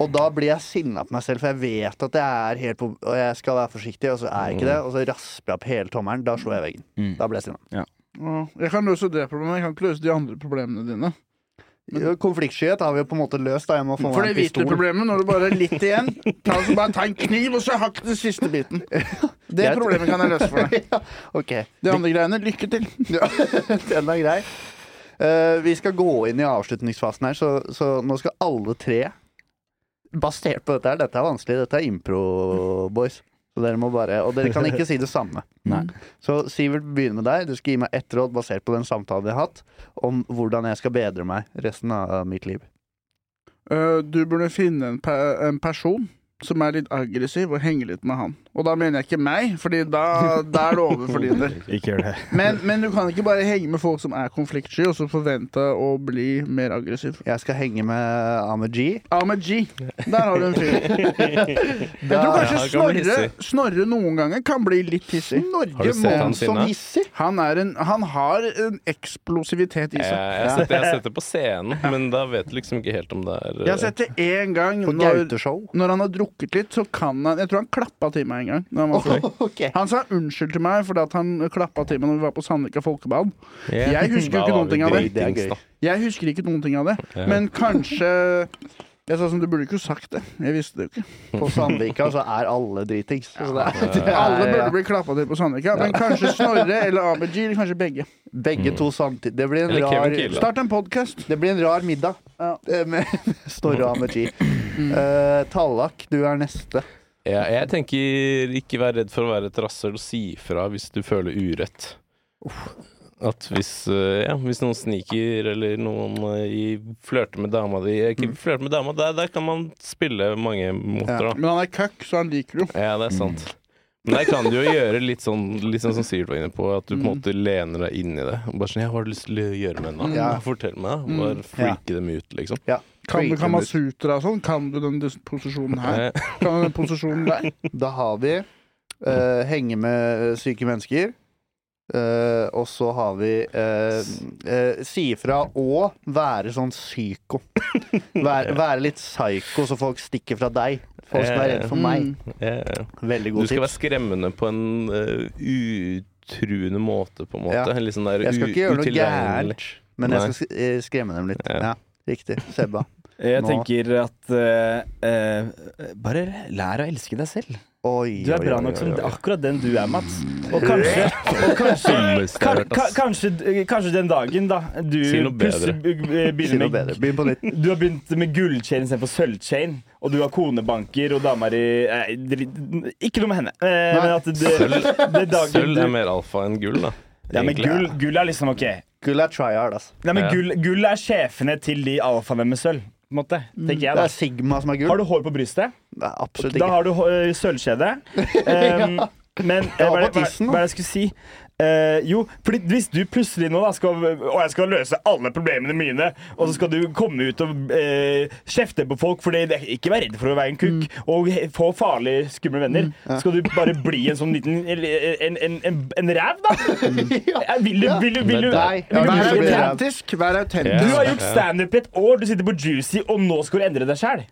Speaker 1: Og da blir jeg sinna på meg selv, for jeg vet at jeg er helt på Og jeg skal være forsiktig, og så er jeg ikke
Speaker 3: Mm.
Speaker 1: det. Og så rasper jeg opp hele tommelen. Da slår jeg veggen.
Speaker 2: Mm.
Speaker 1: Da blir jeg sinna.
Speaker 3: Ja, Jeg kan løse det problemet, jeg kan ikke løse de andre problemene dine.
Speaker 1: Jo, Konfliktskyhet har vi jo på en måte løst. Da. Jeg må få
Speaker 3: For
Speaker 1: meg
Speaker 3: det
Speaker 1: en pistol.
Speaker 3: hvite problemet, når du bare er litt igjen, ta, så bare ta en kniv og så hakk den siste biten.
Speaker 1: *laughs*
Speaker 3: Det
Speaker 1: Jeg-
Speaker 3: problemet kan jeg løse for deg.
Speaker 1: ja, ok. *laughs*
Speaker 3: De andre greiene, lykke til.
Speaker 1: Ja, den er grei. Eh, vi skal gå inn i avslutningsfasen her, så, så nå skal alle tre Basert på dette her, dette er vanskelig, dette er impro, boys. Så dere må bare, Og dere kan ikke si det samme.
Speaker 2: Nei.
Speaker 1: Så Sivert, begynner med deg. Du skal gi meg ett råd basert på den samtalen vi har hatt, om hvordan jeg skal bedre meg resten av mitt liv.
Speaker 3: Øh, Du burde finne en, pe en person som er litt aggressiv, og henge litt med han. Og da mener jeg ikke meg, Fordi da, da er det over for din
Speaker 1: *laughs*
Speaker 3: del.
Speaker 2: Ikke gjør det.
Speaker 3: Men, men du kan ikke bare henge med folk som er konfliktsky, og så forvente å bli mer aggressiv.
Speaker 1: Jeg skal henge med Ahmed G.
Speaker 3: Ahmed G. Der har du en fyr. Jeg tror
Speaker 1: Da-
Speaker 3: kanskje
Speaker 4: han kan bli
Speaker 3: Snorre,
Speaker 4: hissig.
Speaker 3: Snorre noen ganger kan bli litt hissig.
Speaker 4: Har du
Speaker 1: Norge
Speaker 4: sett
Speaker 1: må
Speaker 4: han
Speaker 1: som
Speaker 4: sinne?
Speaker 1: hissig!
Speaker 3: Han, er en, han har en eksplosivitet i
Speaker 4: Jeg,
Speaker 3: seg.
Speaker 4: jeg, setter, jeg setter på scenen, men da vet du liksom ikke helt om det er
Speaker 3: Jeg har sett det én gang.
Speaker 1: På
Speaker 3: Når,
Speaker 1: Gauteshow.
Speaker 3: når han har drukket litt, så kan han Jeg tror han klappa til meg en gang. Når han, var full.
Speaker 1: Ok.
Speaker 3: han sa unnskyld til meg fordi at han klappa til meg Når vi var på Sandvika folkebad.
Speaker 4: Ja.
Speaker 3: Jeg husker jo ikke
Speaker 4: Da var
Speaker 3: noen
Speaker 4: vi
Speaker 3: ting av
Speaker 1: Det
Speaker 3: det.
Speaker 1: er
Speaker 4: dritings,
Speaker 1: gøy.
Speaker 4: da.
Speaker 3: Jeg husker ikke noen ting av det.
Speaker 4: Ja.
Speaker 3: Men kanskje Jeg sa som du burde ikke sagt det. Jeg visste det jo ikke.
Speaker 1: På Sandvika så er alle dritings. Så det er, det er,
Speaker 3: Alle burde
Speaker 1: *laughs* ja.
Speaker 3: bli klappa til på Sandvika, men kanskje Snorre eller Abid G, eller kanskje begge.
Speaker 1: Begge to samtidig. Det blir en
Speaker 4: Mm. Eller Kevin
Speaker 1: rar,
Speaker 4: Kildahl.
Speaker 3: Start en podkast.
Speaker 1: det blir en rar middag
Speaker 3: Ja.
Speaker 1: eh, med *laughs* Snorre og Ahmed G. Eh, Tallak, du er neste.
Speaker 4: Ja, jeg tenker ikke vær redd for å være et rasshøl og si fra hvis du føler urett. At hvis, eh, ja, hvis noen sniker eller noen eh, i- flørter med dama di eh, Ikke flørter med dama, der, der kan man spille mange måter, da.
Speaker 3: Men han er køkk, så han liker det jo.
Speaker 4: Ja, Mm. det er sant. Men der kan du jo gjøre litt sånn litt sånn som Sivert var inne på, at du på en måte lener deg inn i det. Og bare sånn 'Ja, hva har du lyst til å gjøre med henne?' da?
Speaker 1: Ja.
Speaker 4: Ja, Fortell meg, da. Bare freake dem ut, liksom.
Speaker 1: Ja.
Speaker 3: Kan du
Speaker 1: Freaking ut.
Speaker 3: Kamasutra og sånn? Kan du den dis- posisjonen her?
Speaker 4: Eh,
Speaker 3: Kan du den posisjonen der?
Speaker 1: Da har vi eh, henge med eh, syke mennesker. Eh, og så har vi eh, eh, si ifra og være sånn psyko. Være,
Speaker 2: *laughs*
Speaker 1: være litt psyko, så folk stikker fra deg. Folk som er redd for meg.
Speaker 3: Mm.
Speaker 4: eh.
Speaker 1: Veldig
Speaker 4: Du
Speaker 1: god
Speaker 4: skal være
Speaker 1: tips.
Speaker 4: skremmende på en eh, utruende måte, på en måte.
Speaker 1: Ja.
Speaker 4: En litt sånn der
Speaker 1: Jeg skal ikke gjøre noe
Speaker 4: utilregnelig.
Speaker 1: gærent, men jeg skal sk- eh, skremme dem litt.
Speaker 4: Ja.
Speaker 1: Ja, riktig. Sebba.
Speaker 2: Jeg
Speaker 1: Nå-
Speaker 2: tenker at eh, eh, Bare lær å elske deg selv.
Speaker 1: Oi,
Speaker 2: Du er
Speaker 1: oi,
Speaker 2: bra
Speaker 1: oi,
Speaker 2: nok som
Speaker 1: oi, oi.
Speaker 2: akkurat den du er, Mats. Og kanskje, og kanskje
Speaker 4: Dummeste jeg har
Speaker 2: kan,
Speaker 4: hørt,
Speaker 2: kan,
Speaker 4: ass.
Speaker 2: kanskje, eh, kanskje den dagen da du
Speaker 4: Si noe bedre.
Speaker 2: plutselig b- b-
Speaker 1: Si
Speaker 2: begynner
Speaker 1: noe bedre.
Speaker 2: med
Speaker 1: Begynn på nytt.
Speaker 2: du har begynt med gullchain istedenfor sølvchain, og du har konebanker og damer i nei, dri- Ikke noe med henne. Eh, men at det, det dagen
Speaker 4: Sølv er
Speaker 2: du,
Speaker 4: mer alfa enn gull, da.
Speaker 2: ja, men
Speaker 4: Egentlig.
Speaker 2: gull, gull er liksom OK.
Speaker 1: Gull er try hard, altså.
Speaker 2: Nei, men
Speaker 4: Ja.
Speaker 2: gull, gull er sjefene til de alfaene med sølv, på en måte. Tenker jeg,
Speaker 1: Det
Speaker 2: da.
Speaker 1: er Sigma som er
Speaker 2: Har
Speaker 1: gull.
Speaker 2: du hår på brystet?
Speaker 1: Nei, absolutt
Speaker 2: Da
Speaker 1: ikke.
Speaker 2: har du hå- øh, sølvkjede. Um, Men eh,
Speaker 1: *laughs* Ja,
Speaker 2: hva er
Speaker 1: på
Speaker 2: det hva er-
Speaker 1: tissen, da.
Speaker 2: hva er det jeg skulle si? Eh, jo, fordi hvis du plutselig nå da skal Og jeg skal løse alle problemene mine, og så skal du komme ut og eh, kjefte på folk fordi det, Ikke vær redd for å være en kukk
Speaker 1: Mm.
Speaker 2: og he- få farlige, skumle venner. Skal du bare bli en sånn liten En, en, en, en ræv, da?
Speaker 1: Mm.
Speaker 2: *laughs* Eh, Vil du, vil du, vil du,
Speaker 1: Nei.
Speaker 2: vil
Speaker 3: Vær
Speaker 2: du, vil du
Speaker 3: autentisk! Vær
Speaker 2: du
Speaker 3: autentisk.
Speaker 2: har gjort standup i et år, du sitter på Juicy, og nå skal du endre deg sjæl.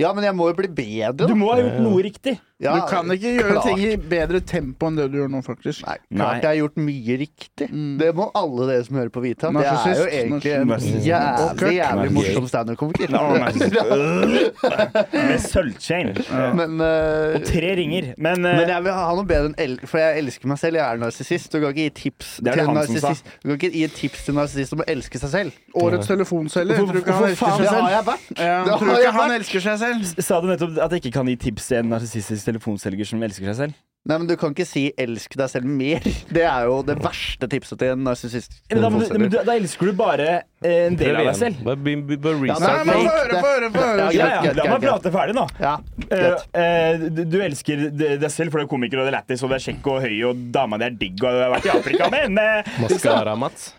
Speaker 1: Ja, men jeg må jo bli bedre. da.
Speaker 2: Du må ha gjort noe riktig.
Speaker 1: ja,
Speaker 3: Du kan ikke gjøre
Speaker 1: klart.
Speaker 3: ting i bedre tempo enn det du gjør nå, faktisk.
Speaker 1: Nei,
Speaker 2: Nei. Mm.
Speaker 1: klart jeg har gjort mye riktig. Det må alle dere som hører på vite. at Jeg er jo
Speaker 3: Narsissist,
Speaker 1: egentlig en
Speaker 2: narsissist.
Speaker 1: jævlig, jævlig
Speaker 2: Narcissist.
Speaker 1: morsom standup-komiker.
Speaker 2: sånn, *laughs* "Øh." Med sølvchain.
Speaker 1: *laughs* Men, eh,
Speaker 2: Og tre ringer. Men, eh,
Speaker 1: men jeg vil ha noe bedre enn el For jeg elsker meg selv. Jeg er narsissist. Du kan ikke gi tips
Speaker 2: Det er
Speaker 1: til
Speaker 2: det
Speaker 1: en
Speaker 2: han som sa.
Speaker 1: narsissist Du kan ikke gi tips til en narsissist om å elske seg selv.
Speaker 3: Årets telefonselger.
Speaker 2: Hvorfor-
Speaker 3: Tror du ikke han
Speaker 2: hvorfor
Speaker 3: elsker
Speaker 2: faen-
Speaker 3: seg
Speaker 1: Det har
Speaker 3: selv?
Speaker 1: jeg vært.
Speaker 3: Ja,
Speaker 1: Det
Speaker 3: tror du
Speaker 1: har
Speaker 3: ikke
Speaker 1: jeg
Speaker 3: han
Speaker 1: vært.
Speaker 3: elsker seg selv?
Speaker 2: Sa du nettopp at jeg ikke kan gi tips til en narsissistisk telefonselger som elsker seg selv?
Speaker 1: Nei, men Du kan ikke si 'elsk deg selv mer'. *laughs* Det er jo det verste tipset til en narsissist.
Speaker 2: Men da, må du, men du, da elsker du bare eh, en del av deg selv.
Speaker 4: Bare, be- be- bare
Speaker 1: Ja,
Speaker 3: Nei,
Speaker 4: restart.
Speaker 3: men få
Speaker 1: Takk.
Speaker 3: høre, få høre, få høre.
Speaker 1: Ja,
Speaker 2: Ja, ja,
Speaker 1: greit,
Speaker 2: La
Speaker 1: greit,
Speaker 2: meg
Speaker 1: greit.
Speaker 2: prate ferdig, nå.
Speaker 1: Ja,
Speaker 2: Eh,
Speaker 1: greit.
Speaker 2: eh, du du elsker d- deg selv, for du er komiker og det er lættis og du er kjekk og høy og dama di er digg og du har vært i Afrika, men eh,
Speaker 4: Maskara, Mats.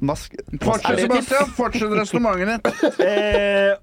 Speaker 1: Mask...
Speaker 3: Fortsett, Sebastian. Fortsett resonnementet ditt.
Speaker 2: Eh,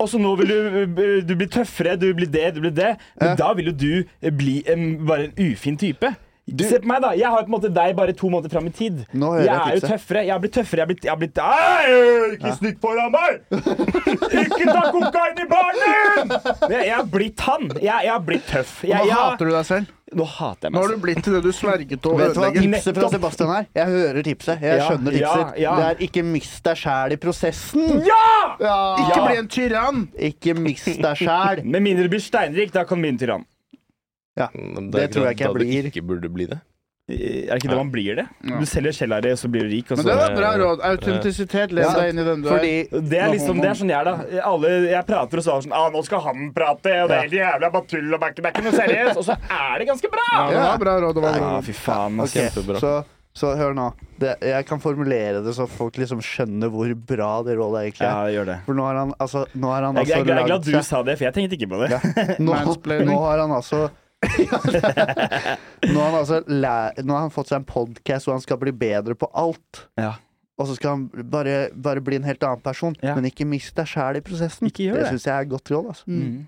Speaker 2: og så nå vil du, eh, du blir tøffere, du blir det, du blir det. Men da vil jo du eh, bli en, bare en ufin type. Se på meg, da. Jeg har jo på en måte deg bare to måneder fram i tid.
Speaker 1: Nå hører
Speaker 2: jeg
Speaker 1: jeg
Speaker 2: er jo
Speaker 1: tipset.
Speaker 2: tøffere. Jeg har blitt tøffere. Jeg har blitt, jeg har blitt Ei, Ikke snikk foran meg! *laughs* Ikke ta kokain i baren din! Jeg, jeg har blitt han. Jeg, jeg har blitt tøff. Jeg,
Speaker 3: Nå
Speaker 2: jeg,
Speaker 3: hater du deg selv.
Speaker 2: nå hater jeg
Speaker 3: Nå
Speaker 2: meg
Speaker 3: har du blitt til det du sverget å
Speaker 1: Vet du hva
Speaker 3: ødelegge.
Speaker 1: tipset fra
Speaker 2: Nettopp.
Speaker 1: Sebastian er? Jeg hører tipset. Jeg
Speaker 2: Ja,
Speaker 1: skjønner
Speaker 2: ja,
Speaker 1: tipset.
Speaker 2: ja.
Speaker 1: Det er 'ikke mist deg sjæl i prosessen'.
Speaker 2: Ja!
Speaker 3: Ikke
Speaker 2: Ja.
Speaker 3: bli en tyrann!
Speaker 1: Ikke mist deg sjæl.
Speaker 2: Med mindre du blir steinrik, da kan du bli en tyrann.
Speaker 1: Det tror jeg ikke jeg
Speaker 4: da
Speaker 1: blir.
Speaker 4: Du ikke burde bli det.
Speaker 2: Er det ikke det man blir det?
Speaker 3: Ja.
Speaker 2: Du selger sjela di, og så blir du rik. Og
Speaker 3: Men
Speaker 2: så
Speaker 3: det var bra råd. Autentisitet. Lev
Speaker 1: Ja.
Speaker 3: deg inn i den du er.
Speaker 1: Fordi
Speaker 2: *laughs* Det er liksom, det er sånn jeg er, da. Alle, jeg prater og så er det sånn ah, 'Nå skal han prate', og det er helt jævla bare tull og back, det er ikke noe seriøst. Og så er det ganske bra!
Speaker 3: Ja, det var bra råd. Det var bra.
Speaker 2: Ja, Ah, fy faen, ass.
Speaker 1: Ok,
Speaker 4: Kjempebra.
Speaker 1: Så, så hør nå. Det, jeg kan formulere det så folk liksom skjønner hvor bra det rådet egentlig
Speaker 2: Ja,
Speaker 1: er.
Speaker 2: gjør det.
Speaker 1: For nå har han altså, nå har han
Speaker 2: Jeg,
Speaker 1: altså
Speaker 2: jeg, jeg er glad
Speaker 1: lagd
Speaker 2: du
Speaker 1: seg-
Speaker 2: sa det, for jeg tenkte ikke på *laughs* det.
Speaker 1: nå,
Speaker 3: Mansplaining.
Speaker 1: nå har han
Speaker 2: *laughs*
Speaker 1: altså *laughs* Nå har han altså læ- Nå har han fått seg en podkast hvor han skal bli bedre på alt.
Speaker 2: Ja.
Speaker 1: Og så skal han bare, bare bli en helt annen person.
Speaker 2: Ja.
Speaker 1: Men ikke mist deg sjæl i prosessen.
Speaker 2: Ikke gjør
Speaker 1: det
Speaker 2: det.
Speaker 1: syns jeg er et godt råd. Altså.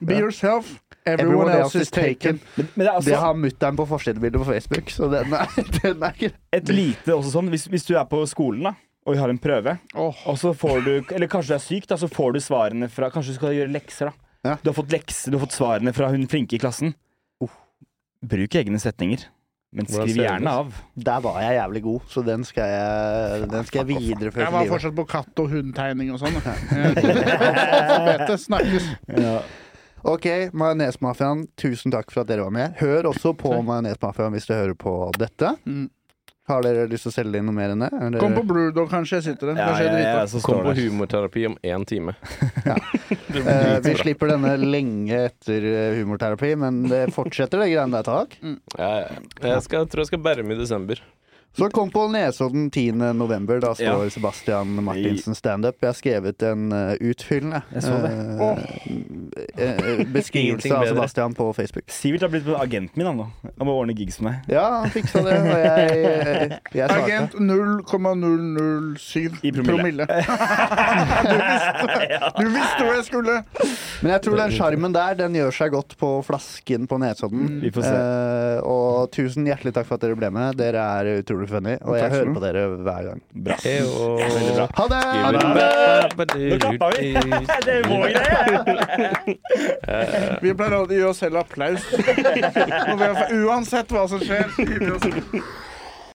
Speaker 3: Be yourself.
Speaker 1: Everyone else is taken.
Speaker 2: Men, men det er
Speaker 1: Det
Speaker 2: altså
Speaker 1: har mutter'n på forsidebildet på Facebook, så den er, *laughs*
Speaker 3: *laughs*
Speaker 1: den er grei.
Speaker 2: et lite også sånn hvis, hvis du er på skolen da og vi har en prøve,
Speaker 3: Åh.
Speaker 2: og så får du Eller kanskje du er syk, da, så får du svarene fra Kanskje du skal gjøre lekser, da.
Speaker 1: Ja.
Speaker 2: Du har fått lekser, du har fått svarene fra hun flinke i klassen. Uh. Bruk egne setninger, men
Speaker 4: Hvordan
Speaker 2: skriv
Speaker 4: ser det ut?
Speaker 2: gjerne av.
Speaker 1: Der var jeg jævlig god, så den skal jeg, den skal jeg videreføre til
Speaker 3: Jeg var
Speaker 1: livet.
Speaker 3: fortsatt på katt- og hundtegning og sånn. da. Alfabetet snakkes.
Speaker 1: Ok, Majonesmafiaen, tusen takk for at dere var med. Hør også på Majonesmafiaen hvis dere hører på dette.
Speaker 3: Mm.
Speaker 1: Har dere lyst til å selge inn noe mer enn det? Eller-
Speaker 3: Kom på Blue Dog, kanskje jeg sitter der.
Speaker 2: Ja,
Speaker 3: Kanskje jeg
Speaker 2: ja, ja,
Speaker 3: driter.
Speaker 2: så
Speaker 4: Kom
Speaker 2: står
Speaker 4: på
Speaker 2: det.
Speaker 4: humorterapi om én time.
Speaker 1: Eh, vi slipper denne lenge etter eh, humorterapi, men det fortsetter det greiene der, takk.
Speaker 4: Ja, ja. Jeg skal, tror jeg skal berme i desember.
Speaker 1: Så kom på Nesodden 10. november. Da står
Speaker 2: Ja.
Speaker 1: Sebastian Martinsen standup. Jeg har skrevet en eh, utfyllende
Speaker 2: Jeg så det.
Speaker 1: eh, eh, beskrivelse
Speaker 4: Ingenting
Speaker 1: av
Speaker 4: bedre.
Speaker 1: Sebastian på Facebook.
Speaker 2: Sivert har blitt agenten min han nå. Han må ordne gigs med meg.
Speaker 1: Ja, han fiksa det. Og jeg, jeg, jeg svarte.
Speaker 3: Agent 0,007
Speaker 2: I promille.
Speaker 3: Du visste hvor jeg skulle!
Speaker 1: Men jeg tror den sjarmen der den gjør seg godt på flasken på Nesodden.
Speaker 2: Vi får se.
Speaker 1: Eh, og tusen hjertelig takk for at dere ble med. Dere er utrolig funny, og jeg
Speaker 3: Takk skal
Speaker 1: hører
Speaker 3: du
Speaker 1: på dere hver gang.
Speaker 2: Bra.
Speaker 4: Heyo.
Speaker 1: Ha det!
Speaker 4: Ha det!
Speaker 2: Nå klappa vi! Det er vår greie!
Speaker 3: Vi pleier alltid å gi oss selv applaus. Og vi har- Uansett hva som skjer. så gir vi oss-